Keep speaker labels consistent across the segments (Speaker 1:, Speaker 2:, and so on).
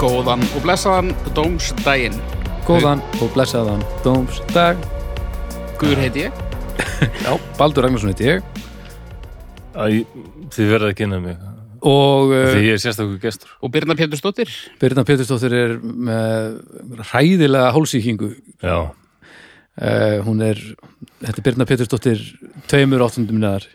Speaker 1: góðan og blessaðan dómsdaginn.
Speaker 2: Góðan og blessaðan Dómsdag
Speaker 1: Guður heiti ég.
Speaker 2: Já, Baldur Ragnarsson heiti ég
Speaker 3: Æ, þið verða að kynna mig
Speaker 2: Og uh,
Speaker 3: Því ég er sérstakur gestur
Speaker 1: Og Birna Pétursdóttir.
Speaker 2: Birna Pétursdóttir er með hræðilega hálsíkingu
Speaker 3: Já,
Speaker 2: uh, Hún er, þetta er Birna Pétursdóttir tveimur áttundum neðar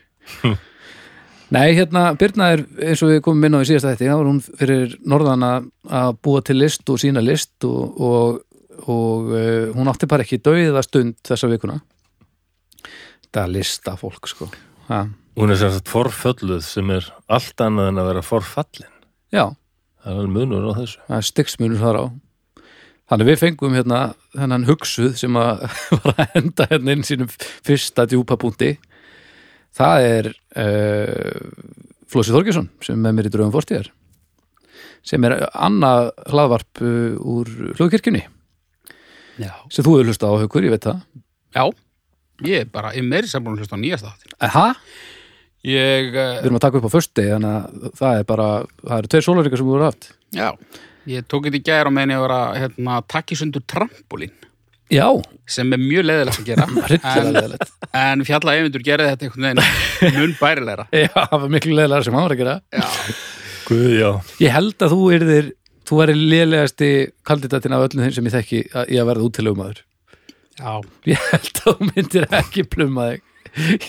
Speaker 2: Nei, hérna, Birna er eins og við komum inn á í síðasta þetta þá var hún fyrir norðan að- að búa til list og sína list og, og, og uh, hún átti bara ekki dauða stund þessa vikuna Þetta er lista fólk sko ha,
Speaker 3: hún er sérstakur forfölluð sem er allt annað en að vera forfallin
Speaker 2: Já,
Speaker 3: Það er alveg munur á þessu
Speaker 2: það er styggsmunur þar á þannig við fengum hérna þennan hugsuð sem að var að enda hérna inn sínum fyrsta djúpabúndi það er uh, Flósi Þorgesson sem er með mér í draugum fórstíðar sem er annað hlaðvarp uh, úr hlugkirkjunni
Speaker 1: Já.
Speaker 2: sem þú hefur hlustað á haukur, ég veit það
Speaker 1: Já. Ég er bara, ég er meiri sem búin að hlusta á nýjasta þáttin.
Speaker 2: Aha,
Speaker 1: Ég,
Speaker 2: við
Speaker 1: uh,
Speaker 2: erum að taka upp á fösti þannig að það er bara, það eru tveir sólaríkar sem við voru haft
Speaker 1: já, ég tók þetta í gær og meðin ég var að hérna, takki sundur trampolín
Speaker 2: Já,
Speaker 1: sem er mjög leðilegt að gera.
Speaker 2: hryllilega
Speaker 1: En-
Speaker 2: leðilegt
Speaker 1: En fjalla efindur gerði þetta einhvern veginn mun bærilegra.
Speaker 2: Já, það var miklu leðilega sem hann var að gera
Speaker 3: Guð, já
Speaker 2: Ég held að þú erðir þú væri lélegasti kandidatin af öllum þeim sem ég þekki að, í að verða útilegumæður
Speaker 1: Já.
Speaker 2: Ég held að þú myndir ekki pluma þig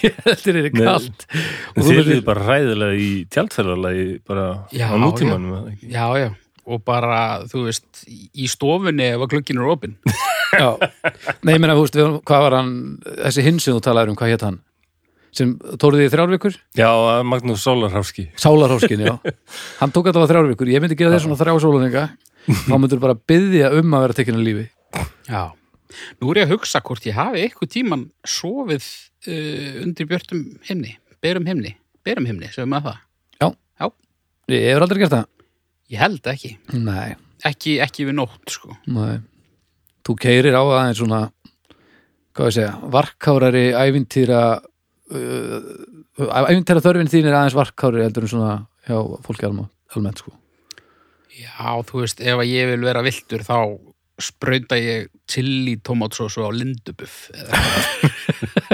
Speaker 2: Ég held þér er
Speaker 3: Nei.
Speaker 2: kalt
Speaker 3: En
Speaker 2: og þú
Speaker 3: þið
Speaker 2: myndir
Speaker 3: eruð bara ræðilega í tjaldferðarlegi bara
Speaker 1: Já,
Speaker 3: á nútímanum eða ekki?
Speaker 1: Já, já. Og bara, þú veist, í stofunni ef að klukkinn er opinn.
Speaker 2: já. Nei, ég meina, þú veist, við- hvað var hann þessi hinn sem þú talaðir um, hvað hétt hann sem tóruði í þrjár vikur?
Speaker 3: Já, að Magnús Sólarhafski
Speaker 2: Sálarháskin, já Hann tók þetta á þrjár vikur, ég myndi gera þér svona þrjá sólaninga þá myndir bara byggja um að vera tekinn að lífi
Speaker 1: Já. Nú er ég að hugsa hvort ég hafi eitthvað tíman sofið uh, undir björtum himni, berum himni, berum himni, segum maður það.
Speaker 2: Ég hefur aldrei gert það
Speaker 1: Ég held ekki.
Speaker 2: Nei,
Speaker 1: Ekki, ekki við nótt, sko.
Speaker 2: Nei. Þú keirir á aðeins svona hvað ég segja, varkárari ævintýra uh, ævintýra þörfin þín er aðeins varkárari heldur en svona hjá fólki alma, almennt sko.
Speaker 1: Já, þú veist, ef að ég vil vera viltur þá sprauta ég chili tomatsósu á lindubuff. eða-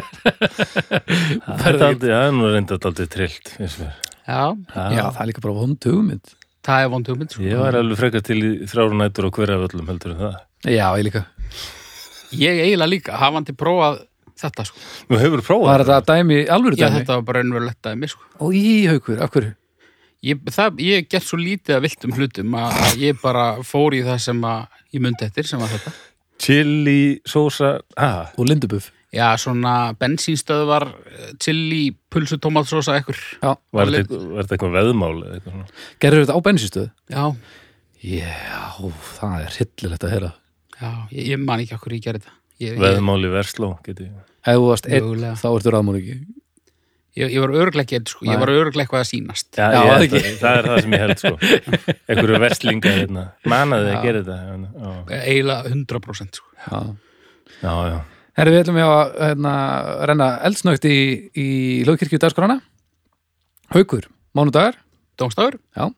Speaker 3: Þetta aldrei- það er nú reynda aldrei trillt eins og verið.
Speaker 1: Já,
Speaker 2: Já, það er líka bara vond hugmynd.
Speaker 1: það er vond hugmynd, sko.
Speaker 3: Ég var alveg frekar til í þrjára nætur og hverja völlum heldur en það
Speaker 2: Já, ég líka.
Speaker 1: Ég eiginlega líka, hafandi prófað þetta, sko.
Speaker 3: Nú hefur prófað
Speaker 2: Var þetta dæmi, alvöru
Speaker 1: Já,
Speaker 2: dæmi?
Speaker 1: þetta var bara ennverulegt dæmi, sko.
Speaker 2: Og í haukur, af hverju?
Speaker 1: Ég, það, ég hef gert svo lítið að viltum hlutum að að ég bara fór í það sem að ég myndi eftir, sem var þetta.
Speaker 3: Chili, sósa, ah,
Speaker 2: Og Lindubuff.
Speaker 1: Já, svona bensínstöðvar, chili, pulsu, tomatsósa, ekkur.
Speaker 2: Já.
Speaker 3: var
Speaker 1: Alveg-
Speaker 3: þetta eitthvað- var þetta eitthvað veðmál eða eitthvað svona
Speaker 2: Gerður þetta á bensinstöðu?
Speaker 1: Já,
Speaker 2: Já, það er hryllilegt að heyra.
Speaker 1: já, ég, ég man ekki okkur ég gerði þetta. Ég, ég,
Speaker 3: Veðmáli versló, geti ég
Speaker 2: Ef þú varst einn,
Speaker 1: Mögulega.
Speaker 2: þá ertu ráðmór ekki.
Speaker 1: ég, ég var örglega ekki, sko, ég
Speaker 2: Nei.
Speaker 1: var örglega eitthvað að sýnast.
Speaker 3: Já,
Speaker 2: Já,
Speaker 3: ég,
Speaker 2: það
Speaker 3: held
Speaker 2: ekki.
Speaker 3: að- það er það sem ég held sko einhverju verslingar hérna. manaði
Speaker 1: Já.
Speaker 3: að gera þetta hérna. já,
Speaker 1: Eh, Eiginlega 100%, sko.
Speaker 2: Já.
Speaker 3: já, já.
Speaker 2: Herri, við ætlum við að hérna, renna eldsnögt í, í lögkirkju dagskorana. Haukur, mánudagar,
Speaker 1: Dómstafur?
Speaker 2: já.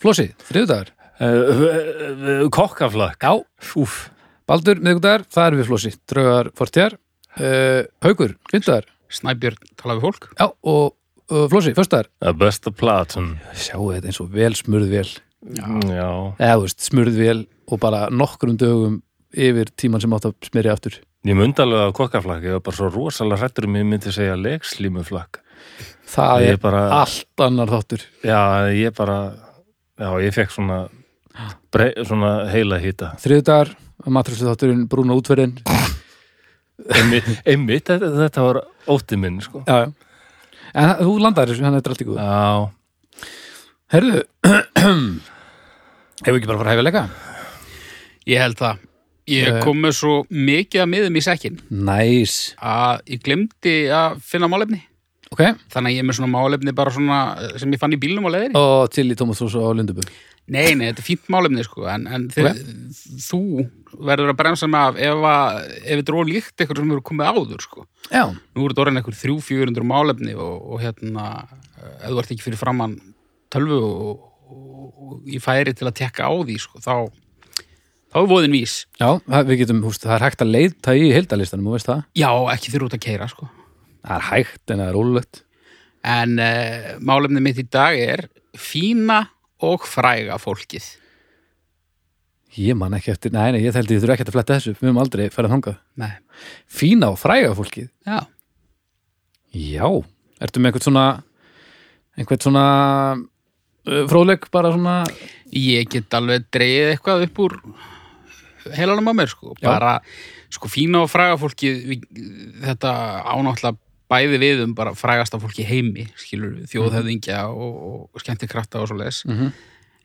Speaker 2: Flossi, þriðudagar.
Speaker 3: Uh, kokkaflakk
Speaker 2: Já.
Speaker 3: Úf,
Speaker 2: Baldur, miðgudagar, það er við Flossi, draugar fortjar. Uh, haukur, fyndagar,
Speaker 1: Snæbjörn tala við fólk?
Speaker 2: já, og uh, Flossi, fyrstagar.
Speaker 3: að besta platan
Speaker 2: Sjáu þetta eins og vel smurð vel,
Speaker 3: já. Hmm. já,
Speaker 2: eða þú veist, smurð vel og bara nokkrum dögum yfir tíman sem átt að smyrja aftur.
Speaker 3: ég myndi alveg að kokkaflakk ég var bara svo rosalega hrættur um ég myndi segja legslímuflakk
Speaker 2: Það
Speaker 3: Ég
Speaker 2: er
Speaker 3: bara,
Speaker 2: allt annar þáttur.
Speaker 3: já, ég bara já, ég fekk svona brei, svona heila hýta
Speaker 2: Þriðudagar, matræslu þátturinn, brúna útverðin.
Speaker 3: einmitt, einmitt þetta, þetta var ótti minn sko.
Speaker 2: Já, já. En þú landar þessu, hann er drætt í góð.
Speaker 3: já,
Speaker 2: Herðu, hefur ekki bara fara hæfileika?
Speaker 1: Ég held það. Ég
Speaker 2: Eh.
Speaker 1: kom með svo mikið að miðum í sekkin
Speaker 2: Næs.
Speaker 1: að ég glemdi að finna málefni.
Speaker 2: Ok,
Speaker 1: Þannig að ég er með svona málefni bara svona eh, sem ég fann í bílnum á leðinni.
Speaker 2: og til í Tómas Rúsa á Lunduböð.
Speaker 1: Nei, nei, þetta er fínt málefni sko, en, en þið, þú verður að bremsa mig af ef, að, ef þetta er ólíkt eitthvað sem eru komið áður sko.
Speaker 2: Já,
Speaker 1: Nú eru þetta orðin eitthvað 300-400 málefni og, og hérna, ef þú ert ekki fyrir framann tölvu og, og, og ég færi til að tekka á því sko, þá þá er voðin vís
Speaker 2: Já, það- við getum, húst, það er hægt að leita í heildalistanum, þú veist það.
Speaker 1: já, ekki þurfa út að keira sko.
Speaker 2: Það er hægt en það er ólulegt.
Speaker 1: en uh, málefni mitt í dag er fína og fræga fólkið
Speaker 2: Ég man ekki eftir, nei, nei, ég held ég þurfa ekki að fletta þessu, við höfum aldrei farið þangað.
Speaker 1: Nei.
Speaker 2: Fína og fræga fólkið.
Speaker 1: já,
Speaker 2: Já. Ertu með einhvern svona, einhvern svona uh, fróðleik bara svona,
Speaker 1: ég get alveg dreigið eitthvað upp úr heilanum á mér sko.
Speaker 2: Já.
Speaker 1: bara sko, fína og fræga fólkið við, þetta ánáttúrulega bæði við um bara frægasta fólki í heimi skilur við, þjóðhöfðingja og, og skemmtikrafta og svoleiðis
Speaker 2: Mhm.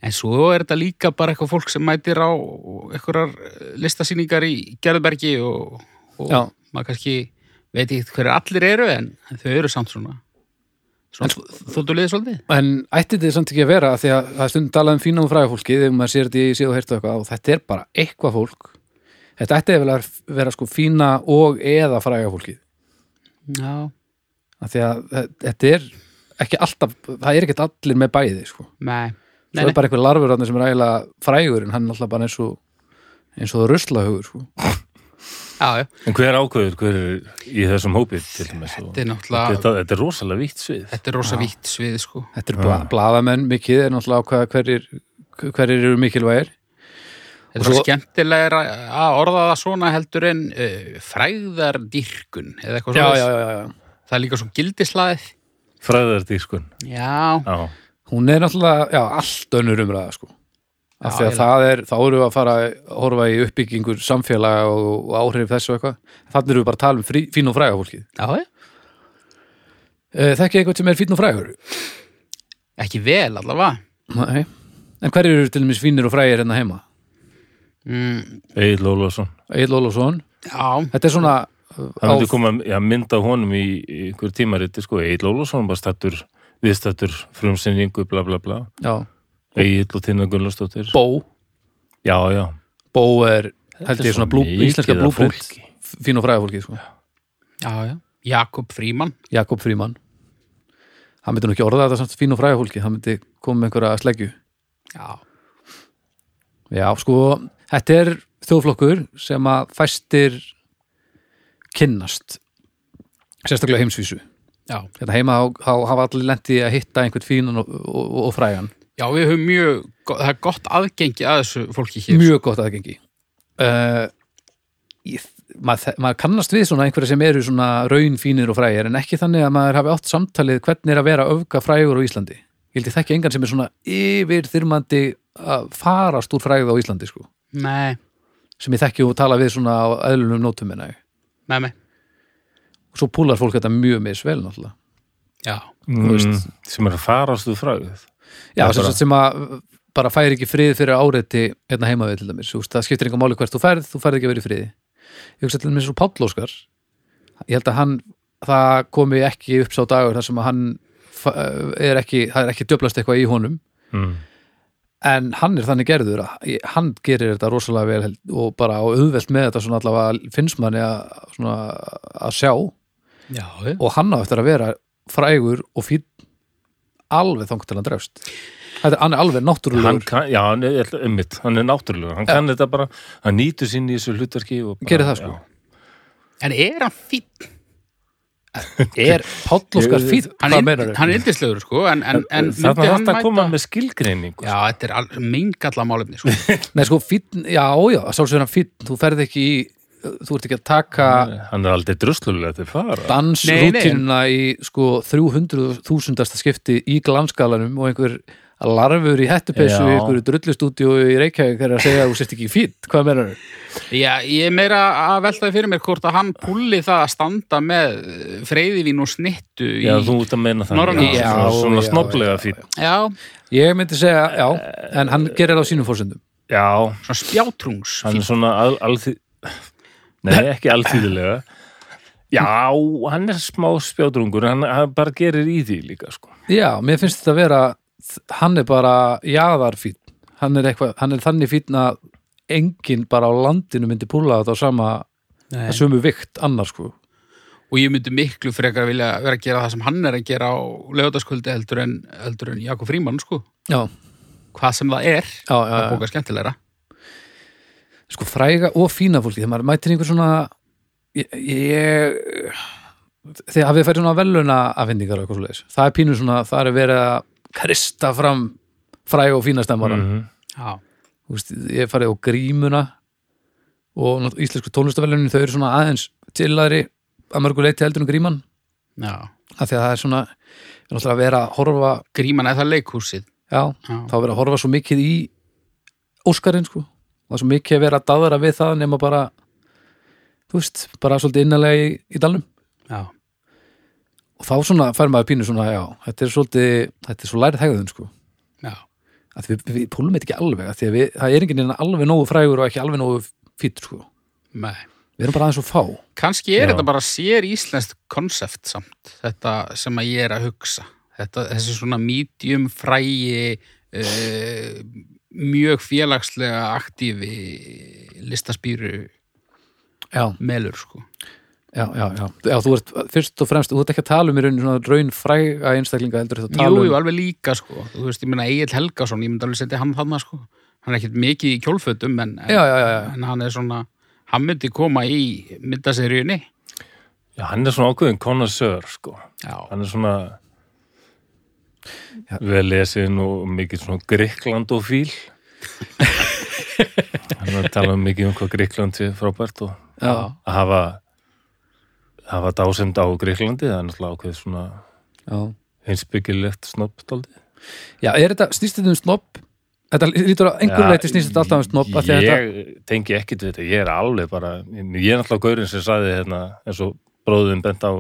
Speaker 1: en svo er þetta líka bara eitthvað fólk sem mætir á einhverjar listasýningar í Gerðbergi og, og
Speaker 2: Já.
Speaker 1: maður kannski veit ekki hverju allir eru en þau eru samt svona svona
Speaker 2: sko-
Speaker 1: þóttu liðið svolítið
Speaker 2: en ætti þetta samt ekki að vera af því að það er stundum talað um fína og fræga fólkið ef maður sér þetta í síðu og heyrtu eitthvað og þetta er bara eitthvað fólk. Þetta ætti að vera, vera sko fína og eða fræga fólkið.
Speaker 1: já,
Speaker 2: Af því að þe- þetta er ekki alltaf, það er ekki allir með bæði, sko.
Speaker 1: nei,
Speaker 2: Svo er bara einhver larfur hann sem er ægilega frægur en hann er alltaf bara eins og eins og ruslahugur sko.
Speaker 1: já, já
Speaker 3: En hver ákveður, hver er í þessum hópi til dæmis? Sko. og-
Speaker 1: Þetta er náttúrulega,
Speaker 3: Þetta, þetta er rosalega vítt svið.
Speaker 1: þetta er rosa vítt svið, sko.
Speaker 2: Þetta er bla, blaðamenn mikið er náttúrulega ákveða hverjir hverjir eru mikilvægir
Speaker 1: Þetta er svo...
Speaker 2: svo-
Speaker 1: skemmtilega að orða það svona heldur en uh, fræðardýrkun eða eitthvað
Speaker 2: já, já,
Speaker 1: svoleiðis.
Speaker 2: já, já.
Speaker 1: Það er líka svo gildislaðið.
Speaker 3: Fræðardískun.
Speaker 1: Já,
Speaker 3: Já.
Speaker 2: Hún er náttúrulega, já, allt önnur umræða sko. Af
Speaker 1: Já,
Speaker 2: því að
Speaker 1: eiginlega.
Speaker 2: það er, þá eru við að fara að horfa í uppbyggingur samfélaga og, og áhrif þessu og eitthvað. Þannig eru við bara að tala um frí, fín og fræga fólkið. Eh,
Speaker 1: já, já.
Speaker 2: Þekki eitthvað sem er fín og frægur?
Speaker 1: Ekki vel allavega.
Speaker 2: Nei. En hverjir eru til dæmis fínir og frægir hérna heima?
Speaker 1: Mm,
Speaker 3: Egil Ólafsson.
Speaker 2: Egil Ólafsson.
Speaker 1: já,
Speaker 2: Þetta er svona
Speaker 3: Það myndi
Speaker 2: á-
Speaker 3: koma já, mynd af honum í, í einhver tímariti, sko. Egil Ólafsson var stattur, viðstattur, frumsinningu, bla bla bla.
Speaker 2: já,
Speaker 3: Egil og Tinna Gunnlaustóttir.
Speaker 2: bó
Speaker 3: Já, já.
Speaker 2: bó er, held
Speaker 3: er
Speaker 2: ég,
Speaker 3: svo
Speaker 2: svona blú,
Speaker 3: mikið
Speaker 2: íslenska
Speaker 3: af
Speaker 2: blúprint
Speaker 3: fólki.
Speaker 2: fín og fræga fólki, sko.
Speaker 1: já, já. Jakob Fríman.
Speaker 2: Jakob Fríman hann myndi nú ekki orða þetta samt fín og fræga fólki hann myndi koma með einhverja sleggju
Speaker 1: Já,
Speaker 2: já, sko, þetta er þjóðflokkur sem að fæstir kynnast sérstaklega á heimsvísu
Speaker 1: já.
Speaker 2: þetta heima þá- þá hafa allir lendi að hitta einhvern fínan og, og, og frægan
Speaker 1: Já, við höfum mjög, go- það er gott aðgengi að þessu fólki hér.
Speaker 2: mjög gott aðgengi uh, ég, maður, maður kannast við svona einhverja sem eru svona raunfínir og frægir en ekki þannig að maður hafi átt samtalið hvernig er að vera öfga frægur á Íslandi ég held ég þekki engan sem er svona yfirþyrmandi að farast úr frægð á Íslandi sko,
Speaker 1: Nei,
Speaker 2: sem ég þekki og tala við svona á eðlunum nótum minna og
Speaker 1: nei, nei.
Speaker 2: svo púlar fólk þetta mjög misvel náttúrulega
Speaker 1: Já,
Speaker 3: Mm, sem er að farast úr fræðið.
Speaker 2: Já,
Speaker 3: Já,
Speaker 2: sem,
Speaker 3: bara-
Speaker 2: sagt sem að bara fær ekki frið fyrir áreiti hérna heima við til dæmis, þú veist, það skiptir einhver máli hvert þú færð, þú færð ekki að vera í friði ég hugsa til dæmis svo Páll Óskar ég held að hann, það komi ekki upp sá dagur þar sem að hann fa- eh, er ekki, það er ekki djöflast eitthvað í honum
Speaker 3: Mm.
Speaker 2: en hann er þannig gerður að ég- hann gerir þetta rosalega vel held- og bara á auðvelt með þetta svona allavega finnst manni að, svona, að sjá og
Speaker 1: já, já.
Speaker 2: hann á eftir að vera frægur og fín alveg þangt til hann drefst Þetta er, hann er alveg náttúrulegur
Speaker 3: Hann kann, já, hann er, einmitt, hann er náttúrulega. Hann kann þetta bara, hann nýtur sín í þessu hlutarki og bara...
Speaker 2: Gerir það, sko.
Speaker 1: En er hann fýtt?
Speaker 2: er Páll Óskar
Speaker 3: Ég-
Speaker 2: fýð
Speaker 1: Hann
Speaker 2: hvað
Speaker 1: er
Speaker 2: meinar
Speaker 1: ynd- hann er yndislegur, sko, en, en, en
Speaker 3: Þarna
Speaker 1: myndi hann
Speaker 3: þarf þetta
Speaker 1: mæta-
Speaker 3: að koma með skilgreiningu.
Speaker 1: Já, þetta er al- meingalla málefni, sko.
Speaker 2: nei sko fýnn, já já, sálsögur hann fýnn þú ferð ekki í, þú ert ekki að taka
Speaker 3: sko. Hann er aldrei druslulega til
Speaker 1: Nei,
Speaker 3: fara.
Speaker 1: nei.
Speaker 2: dansrútinuna í sko 300.000 skipti í glanskalanum og einhver larfur í hettupessu
Speaker 3: Já.
Speaker 2: í einhverju drullustúdíu í Reykjavík er að segja að þú sért ekki fýtt, hvað meinar hann?
Speaker 1: Já, ég er meira að veltaði fyrir mér hvort að hann púli það að standa með freyðivín og snittu í...
Speaker 3: Já, þú út að meina það.
Speaker 1: Norræna.
Speaker 3: Já,
Speaker 2: Já,
Speaker 3: svona
Speaker 2: já,
Speaker 3: snoblega fín.
Speaker 1: Já,
Speaker 2: Ég myndi segja, já, en hann gerir það á sínum fórsendum
Speaker 3: Já,
Speaker 1: svona spjátrungs.
Speaker 3: hann er svona al, alþý... Nei, ekki alþýðilega. Já, hann er smá spjátrungur, hann, hann bara gerir í því líka, sko.
Speaker 2: Já, mér finnst þetta að vera hann er bara jaðarfýnn hann er, eitthvað, hann er þannig fýnn að enginn bara á landinu myndi púla þetta á sama, að sömu vikt annars sko.
Speaker 1: Og ég myndi miklu frekar vilja vera að gera það sem hann er að gera á lögutaskvöldi heldur en, heldur en Jakob Frímann, sko.
Speaker 2: Já,
Speaker 1: Hvað sem það er,
Speaker 2: já, já,
Speaker 1: það
Speaker 2: já.
Speaker 1: bóka skemmtilegra.
Speaker 2: sko fræga og fína fólki þegar maður mætir einhver svona ég, ég þegar hafið færi svona veluna afhendingar og eitthvað svoleiðis, það er pínu svona það er verið að krista fram fræga og fína stemmara mm.
Speaker 1: Já,
Speaker 2: veist, ég hef farið á grímuna og nátt- íslensku tónlistavelunin þau eru svona aðeins tillaðri að mörgu leiti heldur en gríman
Speaker 1: já.
Speaker 2: af því að það er svona við erum alltaf að vera að horfa
Speaker 1: Gríman er það leikhúsið.
Speaker 2: já,
Speaker 1: Já.
Speaker 2: þá vera að horfa svo mikið í Óskarinn sko það er svo mikið að vera að daðra við það nema bara þú veist, bara svolítið innanlega í, í dalnum
Speaker 1: Já,
Speaker 2: og þá svona fær maður pínu svona já, þetta er svolítið, þetta er svo lærið hegðun sko
Speaker 1: já,
Speaker 2: að við, við púlum þetta ekki alveg af því að við, það er enginn hérna alveg nógu frægur og ekki alveg nógu fýtt sko
Speaker 1: með.
Speaker 2: við erum bara aðeins og fá
Speaker 1: Kanski er
Speaker 3: Já.
Speaker 1: þetta bara sér íslenskt konsept samt, þetta sem að ég er að hugsa. Þetta, þessi svona medium, frægi, uh, mjög félagslega aktífi listaspýru
Speaker 2: já,
Speaker 1: melur, sko.
Speaker 2: já, já, já, já þú ert fyrst og fremst, þú ert ekki að tala um í rauninu svona raun fræga einstaklinga heldur þetta að tala
Speaker 1: Jú,
Speaker 2: um
Speaker 1: jú, alveg líka, sko. Þú veist, ég meina Egil Helgason, ég myndi alveg setja hann þarna, sko. Hann er ekkert mikið í kjólfötum, en, en,
Speaker 2: já, já, já, já,
Speaker 1: en hann er svona, hann myndi koma í myndaseríunni.
Speaker 3: Já, hann er svona ákveðin konasör, sko.
Speaker 1: Já,
Speaker 3: Hann er svona
Speaker 2: Já.
Speaker 3: vel lesin og mikið svona Gríkland og fíl. hann er að tala mikið um hvað Gríkland er frábært og
Speaker 2: já.
Speaker 3: að hafa hafa dásemd á Gríklandi það er náttúrulega ákveð svona
Speaker 2: já.
Speaker 3: hinsbyggilegt snobbdóldi
Speaker 2: Já, er þetta, snýst þetta um snopp? Þetta lítur að einhverju leiti snýst þetta alltaf um snopp af því að
Speaker 3: ég
Speaker 2: þetta,
Speaker 3: tengi ekkit við þetta, ég er alveg bara ég er náttúrulega gaurinn sem sagði hérna eins og bróðum bent á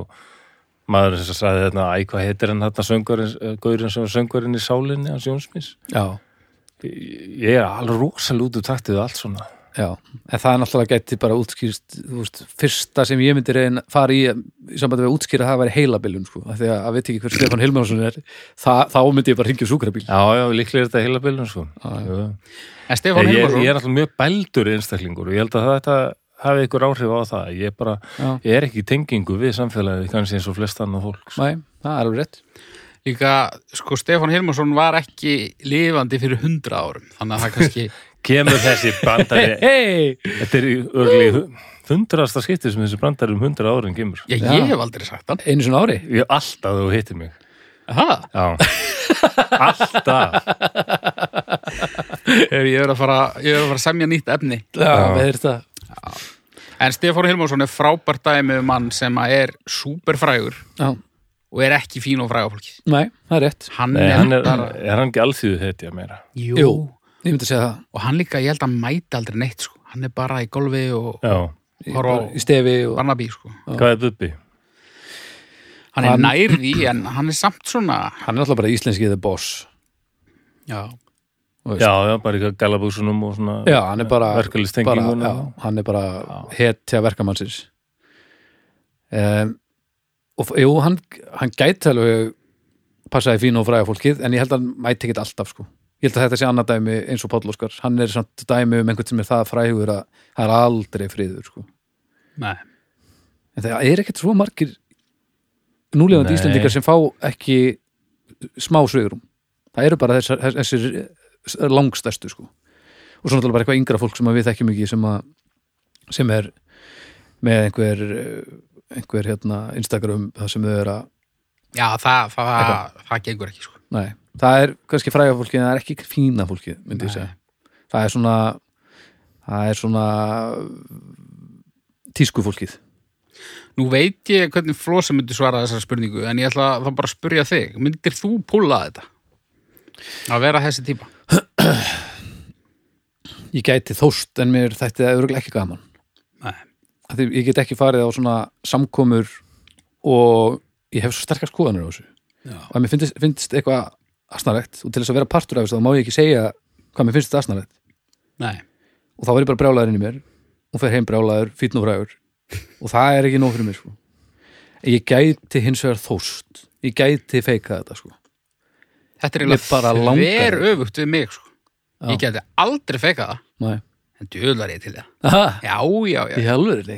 Speaker 3: maðurinn sem sagði hérna, æ, hvað heitir hann hérna söngurinn, gaurinn sem var söngurinn í sálinni hans Jónsmís
Speaker 2: já,
Speaker 3: ég er alveg rosalega út úr taktið við allt svona
Speaker 2: já en það er náttúrulega gæti bara útskýrst þú veist, fyrsta sem ég myndi reyna fara í í sambandi við að útskýra það að vera heilabilun sko, af því að að veit ekki hver Stefán Hilmarsson er það, þá myndi ég bara hringja sjúkrabíl
Speaker 3: já, já, líklega er þetta heila bylun sko. Jú, jú.
Speaker 1: en Stefán
Speaker 3: Ég, ég,
Speaker 1: Hilmarsson,
Speaker 3: ég er alltaf mjög bældur einstaklingur og ég held að þetta hafi ykkur áhrif á það. Ég bara,
Speaker 2: Já.
Speaker 3: ég er ekki í tengingu við samfélagið kannski eins og flest annað fólk. sko.
Speaker 2: Nei, það er alveg rétt
Speaker 1: líka, sko, Stefán Hilmarsson var ekki lifandi fyrir hundra árum, þannig að það kannski,
Speaker 3: Kemur þessi brandari,
Speaker 2: Hei,
Speaker 3: þetta er örgli hundrasta skiptið sem þessi brandari um hundra árin kemur.
Speaker 1: já, ég
Speaker 2: Já.
Speaker 1: hef aldrei sagt hann.
Speaker 2: einu svona ári
Speaker 3: Ég alltaf þú hittir mig.
Speaker 1: Aha,
Speaker 3: Já. alltaf.
Speaker 1: ef ég er að fara, ég er að fara að semja nýtt efni.
Speaker 2: Já, við erum þetta
Speaker 1: En Stefán Hilmarsson er frábært dæmi um mann sem að er superfrægur
Speaker 2: Já,
Speaker 1: og er ekki fín og fræga fólki.
Speaker 2: nei, það er rétt
Speaker 1: Hann
Speaker 3: Nei,
Speaker 1: er,
Speaker 3: hann er,
Speaker 1: bara,
Speaker 3: er hann ekki allþýðu hetja meira.
Speaker 1: jú.
Speaker 2: Jú, ég myndi að segja það
Speaker 1: og hann líka, ég held að hann mæti aldrei neitt, sko. Hann er bara í golfi og
Speaker 3: Já.
Speaker 2: Ég
Speaker 1: Horfa á-
Speaker 2: bara í stefi og
Speaker 1: barnabí, sko.
Speaker 3: Hvað er Bubbi?
Speaker 1: Hann er
Speaker 2: Hann-
Speaker 1: nærði, en hann er samt svona,
Speaker 2: hann er alltaf bara íslenskið the boss
Speaker 1: já,
Speaker 2: þú veist.
Speaker 3: Já, já, bara í galabúsunum og svona
Speaker 2: Já, hann er bara, bara
Speaker 3: verkalýstengingunum.
Speaker 2: já, hann er bara hetja verkamannsins um, og f- jú, hann, hann gæti alveg passaði fín og fræga fólkið en ég held að hann mæti ekkit alltaf sko ég held að þetta sé annað dæmi eins og Páll Óskar hann er samt dæmi um einhvern sem er það frægur að það er aldrei friður sko
Speaker 1: nei.
Speaker 2: en það er ekkert svo margir núlegandi
Speaker 3: Nei.
Speaker 2: Íslendingar sem fá ekki smá svigurum það eru bara þessar, þess- þessir langstæstu sko og svo náttúrulega bara eitthvað yngra fólk sem að við þekkjum ekki sem, að, sem er með einhver eh, einhver hérna Instagram það sem þau eru að
Speaker 1: Já, það, það, það, gengur ekki, sko.
Speaker 2: nei, það er kannski fræga fólkið en það er ekki fína fólkið myndi ég
Speaker 1: Nei.
Speaker 2: segja það er svona það er svona tísku fólkið
Speaker 1: Nú veit ég hvernig Flósi myndi svara þessari spurningu, en ég ætla þá bara að spurja þig. Myndir þú púla þetta? Að vera þessi típa?
Speaker 2: ég gæti þóst en mér þætti það örgulega ekki gaman
Speaker 1: Nei.
Speaker 2: að því ég get ekki farið á svona samkomur og ég hef svo sterkar skoðanur á þessu
Speaker 1: Já.
Speaker 2: og að mér finnst, finnst eitthvað asnalegt og til þess að vera partur af þessu þá má ég ekki segja hvað mér finnst þetta asnalegt
Speaker 1: Nei.
Speaker 2: og þá var ég bara brjálaður inn í mér og fer heim brjálaður, fýtn og frægur og það er ekki nóg fyrir mér sko. En ég gæti hins vegar þóst ég gæti feika þetta sko.
Speaker 1: Þetta er
Speaker 2: Mér bara
Speaker 1: eiginlega
Speaker 2: langar
Speaker 1: þver
Speaker 2: þetta.
Speaker 1: öfugt við mig, sko.
Speaker 2: Já.
Speaker 1: Ég geti aldrei feika það,
Speaker 2: Nei.
Speaker 1: en djöðlar ég til það.
Speaker 2: Aha,
Speaker 1: Já, já, já.
Speaker 2: í alvöru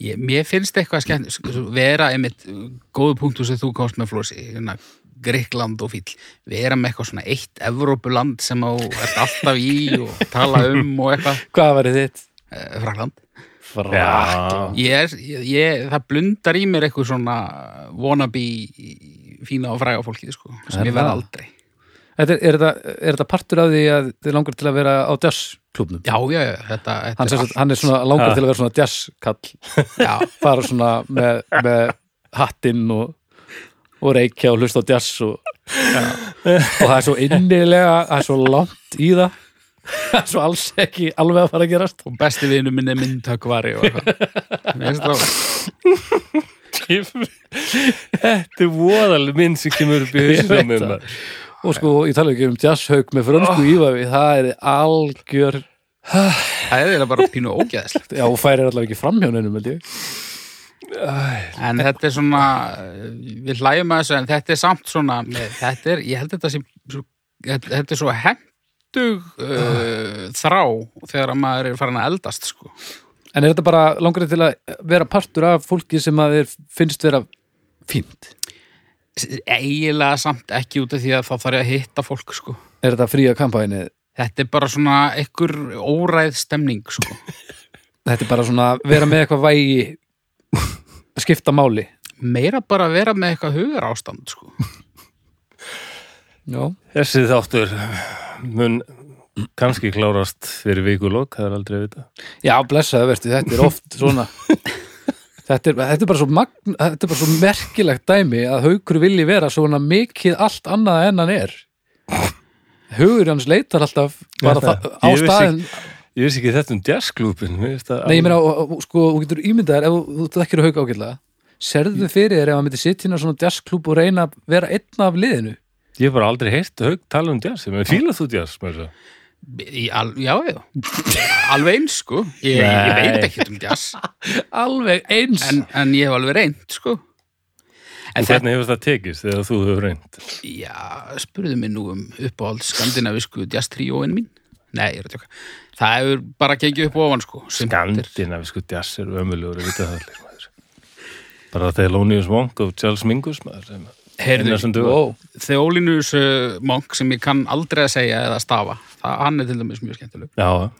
Speaker 1: Ég, mér finnst eitthvað skemmt, sko, vera einmitt góðu punktu sem þú komst með Flósi, hérna, Greikland og fíll vera með eitthvað svona eitt Evrópuland sem á ert alltaf í og tala um og eitthvað
Speaker 2: Hvað var þitt?
Speaker 1: Eh, Frakland
Speaker 3: Já,
Speaker 1: ég, er- ég, ég, það blundar í mér eitthvað svona wannabe fína og fræga fólkið sko, sem
Speaker 2: Er
Speaker 1: ég verð
Speaker 2: það?
Speaker 1: aldrei
Speaker 2: Þetta, er, þetta, er þetta partur af því að þið langar til að vera á jazzklubnum?
Speaker 1: já, já, já, þetta, þetta
Speaker 2: Hann,
Speaker 1: er
Speaker 2: sem
Speaker 1: allt-
Speaker 2: sagt- hann er svona langar
Speaker 3: Ha.
Speaker 2: til að vera svona jazzkall
Speaker 1: já,
Speaker 2: fara svona með, með hattinn og, og reykja og hlusta á jazz og, og það er svo innilega það er svo langt í það það er svo alls ekki alveg að fara að gerast
Speaker 1: og besti vinur minn er myndhöggvari og eitthvað Mér finnst það-
Speaker 3: Þetta er voðaleg minn sem kemur upp í hausinu á
Speaker 2: Ég
Speaker 3: mér
Speaker 2: veit það.
Speaker 3: maður.
Speaker 2: og sko, ég tala ekki um jazzhauk með frönsku oh. ívafi, það er algjör
Speaker 1: það er eiginlega bara pínu ógæðislegt
Speaker 2: já, og færir allavega ekki framhjónunum held ég
Speaker 1: en þetta er svona eh, við hlægjum að þessu en þetta er samt svona með, þetta er, ég held þetta sem svo, þetta þetta er svo hendug uh, þrá þegar að maður er farin að eldast sko.
Speaker 2: en er þetta bara langar þig til að vera partur af fólki sem að þér finnst vera fínt
Speaker 1: eiginlega samt ekki út af því að þá þarf ég að hitta fólk sko.
Speaker 2: er þetta fría kampæni
Speaker 1: þetta er bara svona einhver óræð stemning sko.
Speaker 2: þetta er bara svona vera með eitthvað vægi skipta máli
Speaker 1: meira bara að vera með eitthvað hugar ástand sko.
Speaker 2: já
Speaker 3: Þessi þáttur mun kannski klárast fyrir vikulok, það er aldrei að vita
Speaker 2: Já, blessaðu verður, þetta er oft svona þetta er, þetta er bara svo magn, þetta er bara svo merkilegt dæmi að haukur vilji vera svona mikið allt annað en hann er hugur hans leitar alltaf bara
Speaker 3: Þetta-
Speaker 2: það, á
Speaker 3: ég vissi
Speaker 2: staðin
Speaker 3: Ég veist ekki þetta um jazzklúpin Nei,
Speaker 2: Nei, ég meina, og- og- og sko, þú getur ímyndaðar ef þú- þú þekkir hauk ágætlega Serðu fyrir þér ef hann myndi sitja inn á svona jazzklúb og reyna að vera einn af liðinu
Speaker 3: Ég hef bara aldrei heyrt hög tala um jazz Ég fíla þú jazz með þess að
Speaker 1: Í al, já, já, alveg eins sko. ég, ég
Speaker 3: Nei.
Speaker 1: veit ekkert um jazz
Speaker 2: Alveg eins
Speaker 1: en, en ég hef alveg reynd sko. en
Speaker 3: En
Speaker 1: þetta
Speaker 3: hvernig hefur það tekist þegar þú hefur reynd
Speaker 1: Já, spurðu mig nú um uppáhald skandinavisku jazztríóin mín. Nei, ég er að tjóka. Það hefur bara gengið upp ofan, sko. Sumt er-
Speaker 3: Skandinavisku jazz er ömulegur að vita það allir maður Bara Thelonious Monk og Charles Mingus maður sem
Speaker 1: Heyrðu,
Speaker 3: Einar sem dugar.
Speaker 1: wow. Theolinus uh, Monk sem ég kann aldrei að segja eða stafa. Það, hann er til dæmis mjög skemmtileg.
Speaker 3: Já,